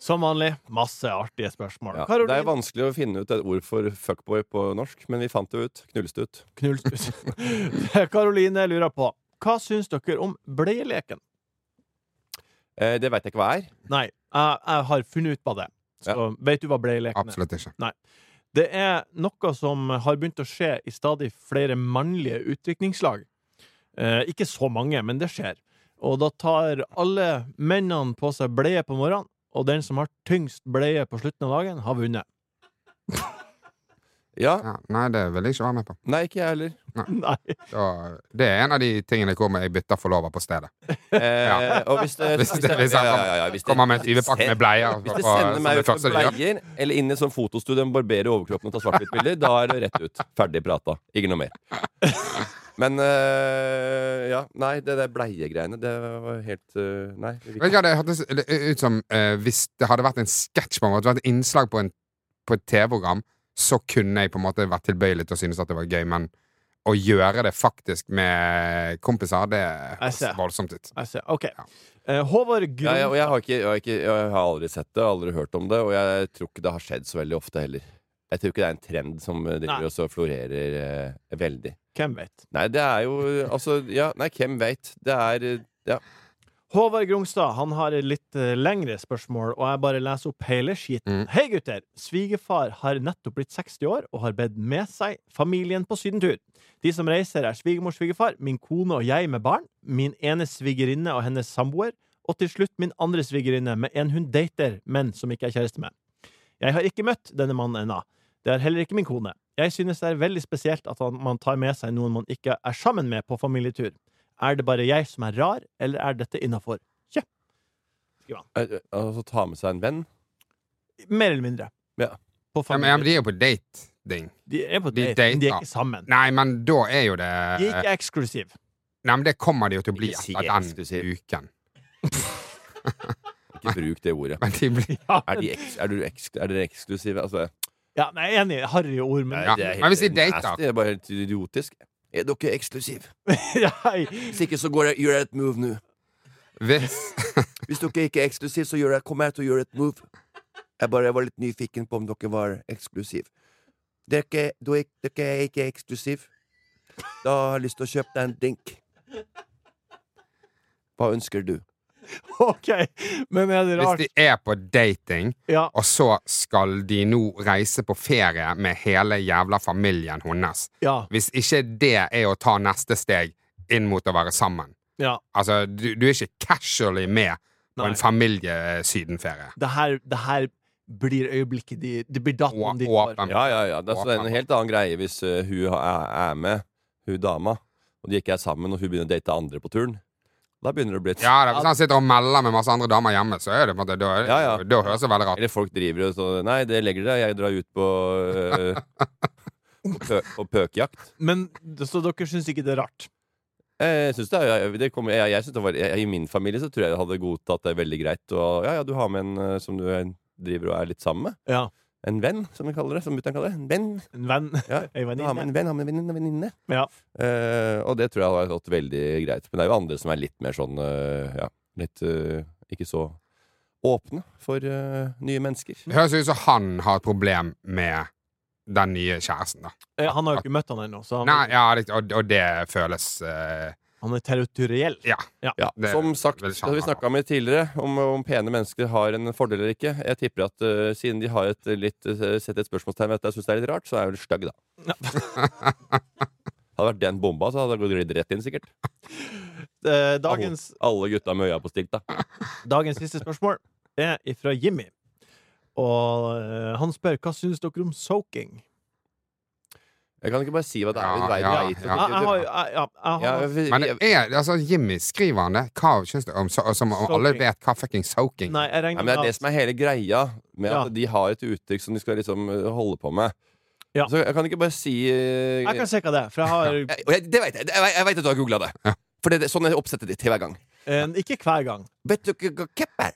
Speaker 2: Som vanlig, masse artige spørsmål.
Speaker 5: Ja, det er
Speaker 2: Karoline,
Speaker 5: vanskelig å finne ut et ord for fuckboy på norsk, men vi fant det ut. Knullestut.
Speaker 2: knullstut. Karoline lurer på Hva syns dere om bleieleken?
Speaker 5: Eh, det veit jeg ikke hva er.
Speaker 2: Nei, jeg, jeg har funnet ut av det. Så vet du hva bleieleken er?
Speaker 4: Absolutt ikke.
Speaker 2: Det er noe som har begynt å skje i stadig flere mannlige utviklingslag. Eh, ikke så mange, men det skjer. Og da tar alle mennene på seg bleie på morgenen, og den som har tyngst bleie på slutten av dagen, har vunnet.
Speaker 5: Ja,
Speaker 4: Ja, nei, det vil jeg ikke være med på.
Speaker 5: Nei, ikke jeg heller.
Speaker 2: Nei.
Speaker 4: Da- det er en av de tingene jeg kommer jeg bytter forlover på stedet.
Speaker 5: Eh, og hvis det,
Speaker 4: Hvis det, hvis
Speaker 5: ja,
Speaker 4: han
Speaker 5: ja, ja, ja, hvis det-
Speaker 4: kommer med en tyvepakke med bleier
Speaker 5: Hvis de
Speaker 4: og-
Speaker 5: sender
Speaker 4: som
Speaker 5: meg ut
Speaker 4: det
Speaker 5: med
Speaker 4: første de gjør.
Speaker 5: bleier eller inn i sånn fotostudio og barberer overkroppen og tar svart-hvitt-bilder, da er det rett ut. Ferdig prata. Ikke noe mer. Men øh, ja, nei, det der bleiegreiene, det var helt øh, Nei. det virker-
Speaker 4: Vet du hva, Det hørtes ut som eh, hvis det hadde vært en sketsj, på en måte, vært et innslag på, en, på et TV-program, så kunne jeg på en måte vært tilbøyelig til å synes at det var gøy, men å gjøre det faktisk med kompiser, det
Speaker 2: Jeg
Speaker 4: høres
Speaker 2: ser.
Speaker 4: voldsomt ut.
Speaker 2: Jeg ser. OK.
Speaker 4: Ja.
Speaker 2: Eh, Håvard Grun...
Speaker 5: Ja, ja, og jeg har, ikke, jeg, har ikke, jeg har aldri sett det, aldri hørt om det, og jeg tror ikke det har skjedd så veldig ofte heller. Jeg tror ikke det er en trend som øh,
Speaker 2: Nei.
Speaker 5: driver og så florerer øh, veldig.
Speaker 2: Hvem vet?
Speaker 5: Nei, det er jo øh, Altså, ja, nei, hvem veit? Det er øh, Ja.
Speaker 2: Håvard Grungstad han har et litt eh, lengre spørsmål, og jeg bare leser opp hele skiten.
Speaker 4: Mm.
Speaker 2: Hei, gutter! Svigerfar har nettopp blitt 60 år og har bedt med seg familien på sydentur. De som reiser, er svigermor, svigerfar, min kone og jeg med barn, min ene svigerinne og hennes samboer, og til slutt min andre svigerinne med en hun dater, men som ikke er kjæreste med. Jeg har ikke møtt denne mannen ennå. Det er heller ikke min kone. Jeg synes det er veldig spesielt at han- man tar med seg noen man ikke er sammen med på familietur. Er det bare jeg som er rar, eller er dette innafor?
Speaker 5: øh, øh, Altså ta med seg en venn.
Speaker 2: Mer eller mindre.
Speaker 5: Ja.
Speaker 2: På
Speaker 4: Ja, men, ja, men
Speaker 2: familietur.
Speaker 4: de er jo på dating.
Speaker 2: De er på
Speaker 4: de
Speaker 2: date, men de er
Speaker 4: dater.
Speaker 2: ikke sammen.
Speaker 4: Nei, men da er jo det
Speaker 2: De er ikke eksklusive.
Speaker 4: Nei, men det kommer de jo til å bli
Speaker 5: Ikke si
Speaker 4: etter den
Speaker 5: eksklusiv.
Speaker 4: uken.
Speaker 5: Ikke bruk det ordet.
Speaker 4: Men de blir
Speaker 2: Ja,
Speaker 5: Er, de eks, er, du eks, er dere eksklusive? Altså,
Speaker 2: ja, men jeg er enig. Harry ord, men
Speaker 4: Ja,
Speaker 5: det er helt
Speaker 4: men hvis de dater-
Speaker 5: nasty, Det er bare helt idiotisk. Er dere eksklusive?
Speaker 2: Nei.
Speaker 5: Hvis ikke, så går jeg, gjør jeg et move nå.
Speaker 4: Hvis
Speaker 5: Hvis dere ikke er eksklusive, så gjør jeg, kommer jeg til å gjøre et move. Jeg bare var litt nyfiken på om dere var eksklusive. Dere, er- du er- dere er ikke eksklusive. Da har jeg lyst til å kjøpe deg en drink. Hva ønsker du?
Speaker 2: OK. Men er det
Speaker 4: Hvis
Speaker 2: rart?
Speaker 4: de er på dating,
Speaker 2: Ja.
Speaker 4: og så skal de nå reise på ferie med hele jævla familien hennes
Speaker 2: ja,
Speaker 4: Hvis ikke det er å ta neste steg inn mot å være sammen
Speaker 2: ja.
Speaker 4: Altså, du, du er ikke casually med på
Speaker 2: Nei.
Speaker 4: en familiesydenferie.
Speaker 2: Det her, det her blir øyeblikket de Det blir daten
Speaker 4: Å-
Speaker 2: om de får.
Speaker 4: åpen.
Speaker 5: Ja, ja, ja. Det er så det er en helt annen greie hvis eh, hun ha- er, er med, hun dama, og de ikke er sammen, og hun begynner å date andre på turen. Da begynner det å bli et
Speaker 4: Ja, da, Hvis han sitter og melder med masse andre damer hjemme, så er det på en måte, da,
Speaker 5: Ja, ja.
Speaker 4: da høres det veldig rart ut.
Speaker 5: Eller folk driver og sånn Nei, det legger deg, jeg drar ut på eh, på pø på pøkejakt.
Speaker 2: Men det- Så dere syns ikke det er rart?
Speaker 5: Eh, Jeg synes det, er- jeg, det kommer, jeg, jeg synes det var, jeg, I min familie så tror jeg jeg hadde godtatt det veldig greit. Og ja, ja, du har med en eh, som du er, driver og er litt sammen med.
Speaker 2: Ja.
Speaker 5: En venn, som vi kaller det. Som mutter'n kaller det. En venn.
Speaker 2: En venn?
Speaker 5: Ja,
Speaker 2: Ei
Speaker 5: Du har med
Speaker 2: venninne?
Speaker 5: en venn, har med en venninne, venninne.
Speaker 2: Ja.
Speaker 5: Eh, og det tror jeg har gått veldig greit. Men det er jo andre som er litt mer sånn eh, Ja, litt eh, ikke så åpne for eh, nye mennesker.
Speaker 4: Det høres ut som han har et problem med den nye kjæresten, da.
Speaker 2: Eh, Han har jo ikke møtt han ennå, så
Speaker 4: Nei,
Speaker 2: han,
Speaker 4: ja, det, og, og det føles eh,
Speaker 2: han er territoriell.
Speaker 4: Ja.
Speaker 5: Ja,
Speaker 4: Det
Speaker 5: Som sagt,
Speaker 4: vil
Speaker 5: det
Speaker 4: jeg
Speaker 5: har vi
Speaker 4: gjerne
Speaker 5: snakka om det tidligere, om, om pene mennesker har en fordel eller ikke. Jeg tipper at eh, siden de har et litt uh, sett et spørsmålstegn ved at jeg syns det er litt rart, så er jeg vel stygg, da. hadde vært den bomba, så hadde jeg gått rett inn, sikkert.
Speaker 2: Eh, Dagens
Speaker 5: Alle gutta med øya på stilk, da.
Speaker 2: Dagens siste spørsmål er fra Jimmy. Og eh, han spør hva syns dere om soaking?
Speaker 5: Jeg kan ikke bare si hva det er.
Speaker 4: Ja,
Speaker 5: vi veier
Speaker 4: ja,
Speaker 5: veit
Speaker 4: ja.
Speaker 2: Jeg, jeg har,
Speaker 5: jo-
Speaker 2: jeg, ja, jeg
Speaker 5: Ja,
Speaker 2: har,
Speaker 5: vi-
Speaker 4: Men det er, altså, Jimmy, skriver han det? Hva syns du om so Som om alle
Speaker 2: Soaking.
Speaker 4: vet hva fucking soaking
Speaker 2: Nei, jeg
Speaker 5: Nei,
Speaker 2: regner
Speaker 5: men Det er det som
Speaker 2: med at
Speaker 5: er hele greia med
Speaker 2: Ja.
Speaker 5: at de har et uttrykk som de skal liksom øh, holde på med.
Speaker 2: Ja.
Speaker 5: Så jeg kan ikke bare si øh,
Speaker 2: Jeg kan se hva det er, for jeg har
Speaker 5: jeg, og jeg, Det vet jeg! Det- Jeg, vet- jeg vet at du har googla det. For det, det, sånn er oppsettet ditt til hver gang.
Speaker 2: en, ikke hver gang.
Speaker 5: Vet du ikke hva cap er?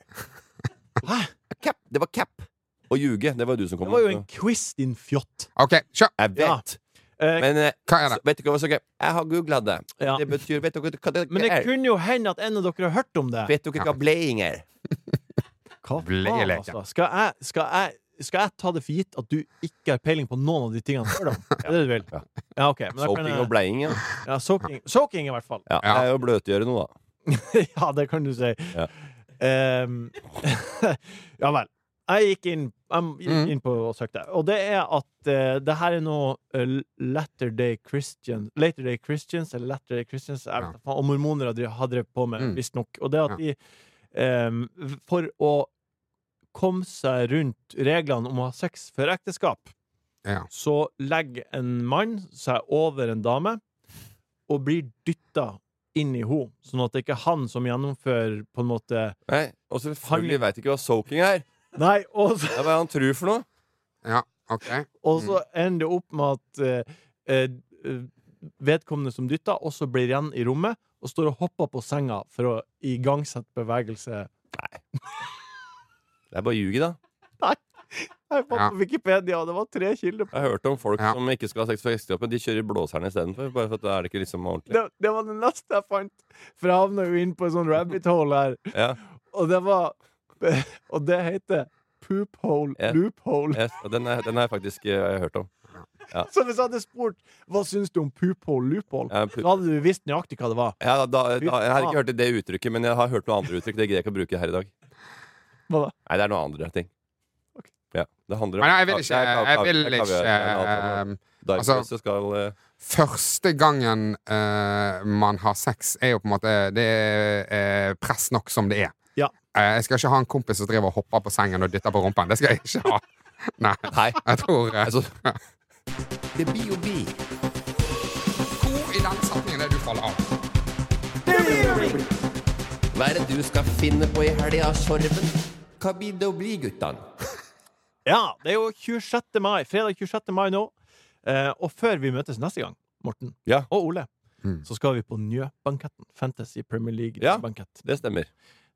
Speaker 2: Hæ?
Speaker 5: Cap, det var cap. Å ljuge, det var jo du som
Speaker 2: Det
Speaker 5: kom
Speaker 2: var jo
Speaker 5: med.
Speaker 2: en quiz, din fjott.
Speaker 4: OK, kjør!
Speaker 5: Jeg vet.
Speaker 2: Ja. Eh,
Speaker 5: Men eh,
Speaker 4: Hva er
Speaker 5: så,
Speaker 4: det?
Speaker 5: vet du ikke hva som er Jeg har googla det.
Speaker 2: Ja.
Speaker 5: Det betyr Vet dere hva det
Speaker 2: Men det
Speaker 5: er?
Speaker 2: kunne jo hende at en av dere har hørt om det.
Speaker 5: Vet dere hva blaying er?
Speaker 2: Hva faen,
Speaker 4: Bleieleken.
Speaker 2: altså? Skal jeg, skal jeg Skal jeg ta det for gitt at du ikke har peiling på noen av de tingene før, da? Er det det du vil?
Speaker 5: Ja.
Speaker 2: Ja, ok. Men da kan
Speaker 5: Soaking
Speaker 2: jeg-
Speaker 5: og bleiing, ja.
Speaker 2: Ja, soaking, soaking i hvert fall.
Speaker 5: ja. Det er jo å bløtgjøre noe, da.
Speaker 2: ja, det kan du si.
Speaker 5: Ja.
Speaker 2: Ehm, ja vel. Jeg gikk inn, jeg gikk
Speaker 4: Mm.
Speaker 2: inn på og søkte, og det er at eh, det her er noe eh, Latter Day Christians Latter Day Christians, eller Latter Day Christians, jeg
Speaker 4: Ja.
Speaker 2: vet, ikke faen, og mormoner har drevet- har drevet på med,
Speaker 4: Mm.
Speaker 2: visstnok. Og det at de ehm, For å komme seg rundt reglene om å ha sex før ekteskap,
Speaker 4: Ja.
Speaker 2: så legger en mann seg over en dame og blir dytta inn i henne, sånn at det ikke er han som gjennomfører på en måte
Speaker 5: Nei, Og selvfølgelig veit ikke hva soaking er.
Speaker 2: Nei, og så,
Speaker 5: Det er hva han tror for noe.
Speaker 4: ja. OK.
Speaker 2: og så ender det opp med at eh, eh, vedkommende som dytter, også blir igjen i rommet og står og hopper på senga for å igangsette bevegelse.
Speaker 5: Det er bare ljug, da.
Speaker 2: Jeg fant
Speaker 4: Ja.
Speaker 2: på Wikipedia, det var tre kilder.
Speaker 5: Jeg har hørt om folk
Speaker 4: Ja.
Speaker 5: som ikke skal ha sex før ekteskapet. De kjører blåserne istedenfor. Bare for at da er det ikke liksom ordentlig.
Speaker 2: Det, det var det neste jeg fant, for jeg havna jo inn på en sånn rabbit hole her.
Speaker 5: Ja,
Speaker 2: Og det var Og det heter poop hole,
Speaker 5: Ja.
Speaker 2: loop hole.
Speaker 5: yes, og den, er, den har jeg faktisk eh, hørt om.
Speaker 2: Så hvis jeg hadde spurt hva syns du om poop hole, loop hole,
Speaker 5: Ja, poop-
Speaker 2: så hadde du visst nøyaktig hva det var.
Speaker 5: Ja, da, da, jeg har ikke hørt det uttrykket, men jeg har hørt noen andre uttrykk. Det greier jeg ikke å bruke her i dag.
Speaker 2: Hva da?
Speaker 5: Nei, det er noen andre ting.
Speaker 2: Ok.
Speaker 5: Ja, det handler om
Speaker 4: Men jeg vil ikke,
Speaker 5: Det er kav-
Speaker 4: jeg
Speaker 5: kav-
Speaker 4: vil
Speaker 5: det er
Speaker 4: ikke
Speaker 5: kaviar, det er noe annet.
Speaker 4: ehm,
Speaker 5: Dark
Speaker 4: altså-
Speaker 5: Horse skal eh,
Speaker 4: Første gangen eh, man har sex, er jo på en måte Det er eh, press nok som det er.
Speaker 2: Ja.
Speaker 4: Eh, jeg skal ikke ha en kompis som driver og hopper på sengen og dytter på rumpen. Det skal jeg ikke ha. Nei.
Speaker 5: Nei.
Speaker 4: Jeg tror eh,
Speaker 5: Altså,
Speaker 3: Det blir jo vi.
Speaker 4: Hvor i den setningen er det du faller av?
Speaker 3: Hva er det du skal finne på i helga, Sorven? Hva blir det å bli, guttan?
Speaker 2: Ja, det er jo 26. mai, fredag 26. mai nå. Eh, og før vi møtes neste gang, Morten
Speaker 5: Ja. Mm.
Speaker 2: og Ole, så skal vi på Njø-banketten. Fantasy Premier
Speaker 5: Ja.
Speaker 2: League-bankett.
Speaker 5: det stemmer.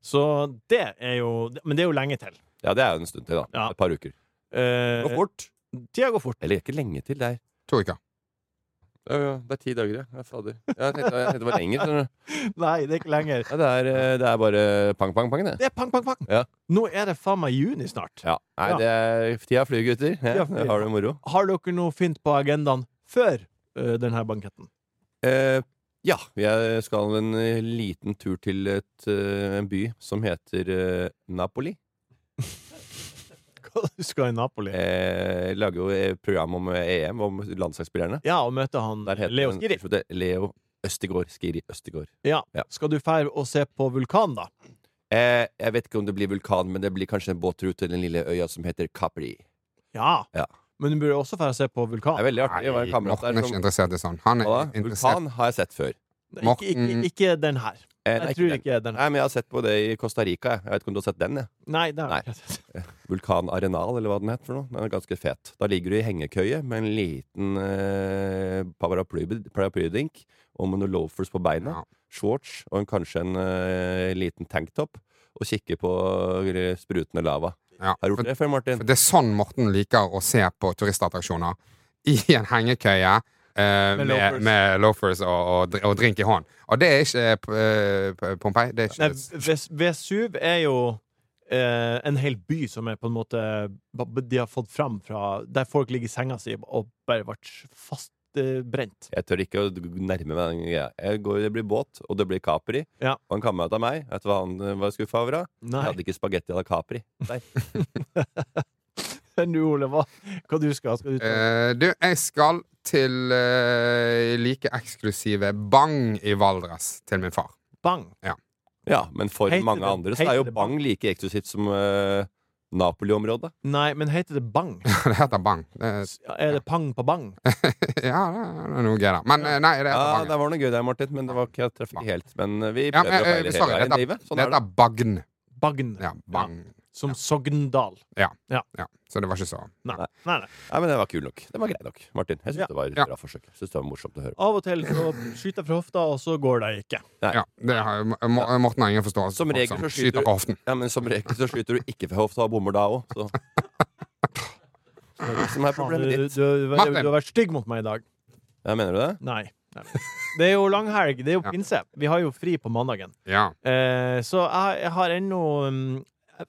Speaker 2: Så det er jo Men det er jo lenge til.
Speaker 5: Ja, det er jo en stund til, da.
Speaker 2: Ja.
Speaker 5: Et par uker.
Speaker 2: Eh,
Speaker 5: Gå fort.
Speaker 2: Tida går fort.
Speaker 5: Eller ikke lenge til. Det er,
Speaker 4: To uker.
Speaker 5: Ja, ja, det er ti dager, ja. ja. Fader. Ja, Jeg tenkte, jeg tenkte det var lenger. skjønner du.
Speaker 2: Nei, det er ikke lenger.
Speaker 5: Ja, det, er, eh, det er bare pang, pang, pang, det.
Speaker 2: Det er pang, pang, pang.
Speaker 5: Ja.
Speaker 2: Nå er det faen meg juni snart.
Speaker 5: Ja. Nei, det er tida flyr, gutter.
Speaker 2: Tida
Speaker 5: Ja,
Speaker 2: flyr.
Speaker 5: har du moro?
Speaker 2: Har dere noe fint på agendaen før eh, denne banketten?
Speaker 5: Eh, ja, jeg skal en eh, liten tur til et, eh, en by som heter eh, Napoli.
Speaker 2: Hva du skal i Napoli?
Speaker 5: Eh, jeg lager jo eh, program om eh, EM, om landslagsspillerne.
Speaker 2: Ja, og møte han
Speaker 5: Der heter
Speaker 2: Leo
Speaker 5: den-
Speaker 2: Skiri.
Speaker 5: det er Leo Østegård. Skiri Østegård.
Speaker 2: Ja.
Speaker 5: Ja.
Speaker 2: Skal du fære og se på vulkan, da?
Speaker 5: Eh, jeg vet ikke om det blir vulkan, men det blir kanskje en båttur til den lille øya som heter Capri.
Speaker 2: Ja.
Speaker 5: Ja.
Speaker 2: Men du burde også fære og se på vulkan.
Speaker 5: Det er veldig artig å være en kamerat
Speaker 4: Morten
Speaker 5: der.
Speaker 4: er ikke
Speaker 5: Som,
Speaker 4: interessert i sånn. Han er
Speaker 5: Hva da?
Speaker 4: interessert
Speaker 5: vulkan har jeg sett før.
Speaker 2: Nei, Ikke, ikke,
Speaker 4: Morten-
Speaker 2: ikke den her.
Speaker 5: Eh, nei,
Speaker 2: Jeg tror
Speaker 5: den.
Speaker 2: ikke den her.
Speaker 5: Nei, men jeg har sett på det i Costa Rica. jeg. Jeg vet ikke om du har sett den? Jeg.
Speaker 2: Nei, det er
Speaker 5: Nei. Vulkan Arenal, eller hva den het for noe. Den er ganske fet. Da ligger du i hengekøye med en liten eh, paraply- paraplydrink og med noen loafers på beina,
Speaker 4: Ja.
Speaker 5: shorts og en, kanskje en eh, liten tanktop, og kikker på eh, sprutende lava.
Speaker 4: ja.
Speaker 5: Har du
Speaker 4: for,
Speaker 5: gjort det før, Martin?
Speaker 4: for det er sånn Morten liker å se på turistattraksjoner. I en hengekøye. eh,
Speaker 2: Med
Speaker 4: med,
Speaker 2: loafers.
Speaker 4: med, loafers og, og, dr- og drink i hånd. Og det er ikke uh, Pompeii. Det er ikke
Speaker 2: Nei, Ves Vesuv er jo eh, en hel by som er på en måte De har fått fram fra Der folk ligger i senga si og bare eh, ble fastbrent.
Speaker 5: Jeg tør ikke å nærme meg den greia. Jeg går, det blir båt, og det blir Capri.
Speaker 2: Ja.
Speaker 5: Og en kamerat av meg, vet du hva han eh, var skuffa over? da?
Speaker 2: Nei.
Speaker 5: Jeg hadde ikke spagetti à la Capri. Nei.
Speaker 2: Men du, Ole, hva, hva du skal Skal du ta
Speaker 4: Eh, du, jeg skal til eh, like eksklusive Bang i Valdres til min far.
Speaker 2: bang?
Speaker 5: Ja, men for
Speaker 2: Heter
Speaker 5: mange
Speaker 2: det-
Speaker 5: andre så
Speaker 2: heter
Speaker 5: er jo
Speaker 2: det
Speaker 5: Bang like eksklusivt som eh, Napoli-området.
Speaker 2: Nei, men heter det bang?
Speaker 4: det heter Bang. Eh,
Speaker 2: Er det pang på bang?
Speaker 4: ja, det er noe gøy, da. Men eh, nei, det
Speaker 5: Ja,
Speaker 4: heter
Speaker 5: det
Speaker 4: Bang.
Speaker 5: var noe gøy der, Martin, men det var ikke, jeg traff ikke helt. Men eh, vi
Speaker 4: Ja,
Speaker 5: prøver
Speaker 4: men,
Speaker 5: å
Speaker 4: eh,
Speaker 5: feile hele
Speaker 4: sorry,
Speaker 5: veien i
Speaker 4: det
Speaker 5: livet.
Speaker 4: heter,
Speaker 5: Sånn
Speaker 4: det
Speaker 5: er det.
Speaker 4: heter Bagn.
Speaker 2: Bagn.
Speaker 4: Ja, Bagn.
Speaker 2: Som Sogndal.
Speaker 4: Ja, så det var ikke så
Speaker 2: Nei. Nei, nei.
Speaker 5: Nei, men det var kul nok. Det var grei nok, Martin. Jeg syns
Speaker 2: Ja.
Speaker 5: det var et
Speaker 4: Ja.
Speaker 5: bra forsøk. Jeg synes det var morsomt å høre.
Speaker 2: Av og til så skyter jeg fra hofta, og så går det ikke.
Speaker 4: Ja, det har, Mo- Morten har ingen forståelse
Speaker 5: Som
Speaker 4: for folk
Speaker 5: regel så
Speaker 4: som
Speaker 5: skyter
Speaker 4: skyter
Speaker 5: du-
Speaker 4: på hoften.
Speaker 5: Ja, men som regel så skyter du ikke fra hofta og bommer da òg, så Så det er det som er
Speaker 2: Faen, Du,
Speaker 5: problemet
Speaker 2: du,
Speaker 5: ditt.
Speaker 2: du, du,
Speaker 4: Martin.
Speaker 2: du har vært stygg mot meg i dag.
Speaker 5: Ja, mener du det?
Speaker 2: Nei. nei. Det er jo langhelg. Det er jo
Speaker 4: Ja.
Speaker 2: pinse. Vi har jo fri på mandagen.
Speaker 4: Ja.
Speaker 2: Eh, så jeg, jeg har ennå mm,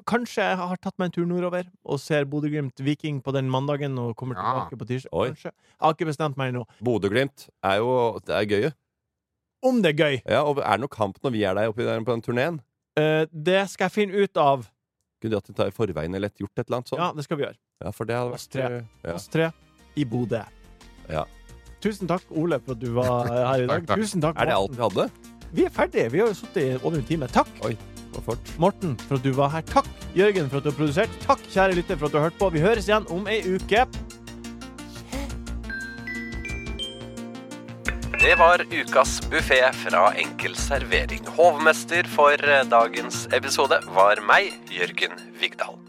Speaker 2: Kanskje jeg har tatt meg en tur nordover og ser Bodø-Glimt-Viking på den mandagen og kommer
Speaker 4: Ja.
Speaker 2: tilbake på tirsdag.
Speaker 5: Oi.
Speaker 2: Kanskje. Jeg har ikke bestemt meg ennå.
Speaker 5: Bodø-Glimt er jo det er gøy. jo.
Speaker 2: Om det er gøy,
Speaker 5: Ja, og er det noe kamp når vi er der oppe der på den turneen?
Speaker 2: eh, det skal jeg finne ut av.
Speaker 5: Kunne de hatt det ta i forveien eller gjort et eller annet sånt?
Speaker 2: Ja, det skal vi gjøre.
Speaker 5: Ja, for det hadde
Speaker 2: Oss
Speaker 5: vært eh, ja.
Speaker 2: Oss tre i Bodø.
Speaker 5: Ja.
Speaker 2: Tusen takk, Ole, for at du var her i dag.
Speaker 4: Takk, takk.
Speaker 2: Tusen takk,
Speaker 5: Er det alt
Speaker 2: Morten.
Speaker 5: vi hadde?
Speaker 2: Vi er ferdige. Vi har jo sittet i over en time. Takk,
Speaker 5: Og fort.
Speaker 2: Morten, for at du var her. Takk, Jørgen, for at du har produsert. Takk, kjære lytter, for at du har hørt på. Vi høres igjen om ei uke.
Speaker 9: Det var ukas buffé fra Enkel servering. Hovmester for eh, dagens episode var meg, Jørgen Vigdal.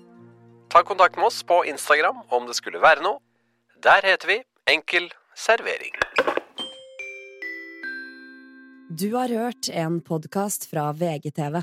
Speaker 9: Ta kontakt med oss på Instagram om det skulle være noe. Der heter vi Enkel servering.
Speaker 1: Du har hørt en podkast fra VGTV.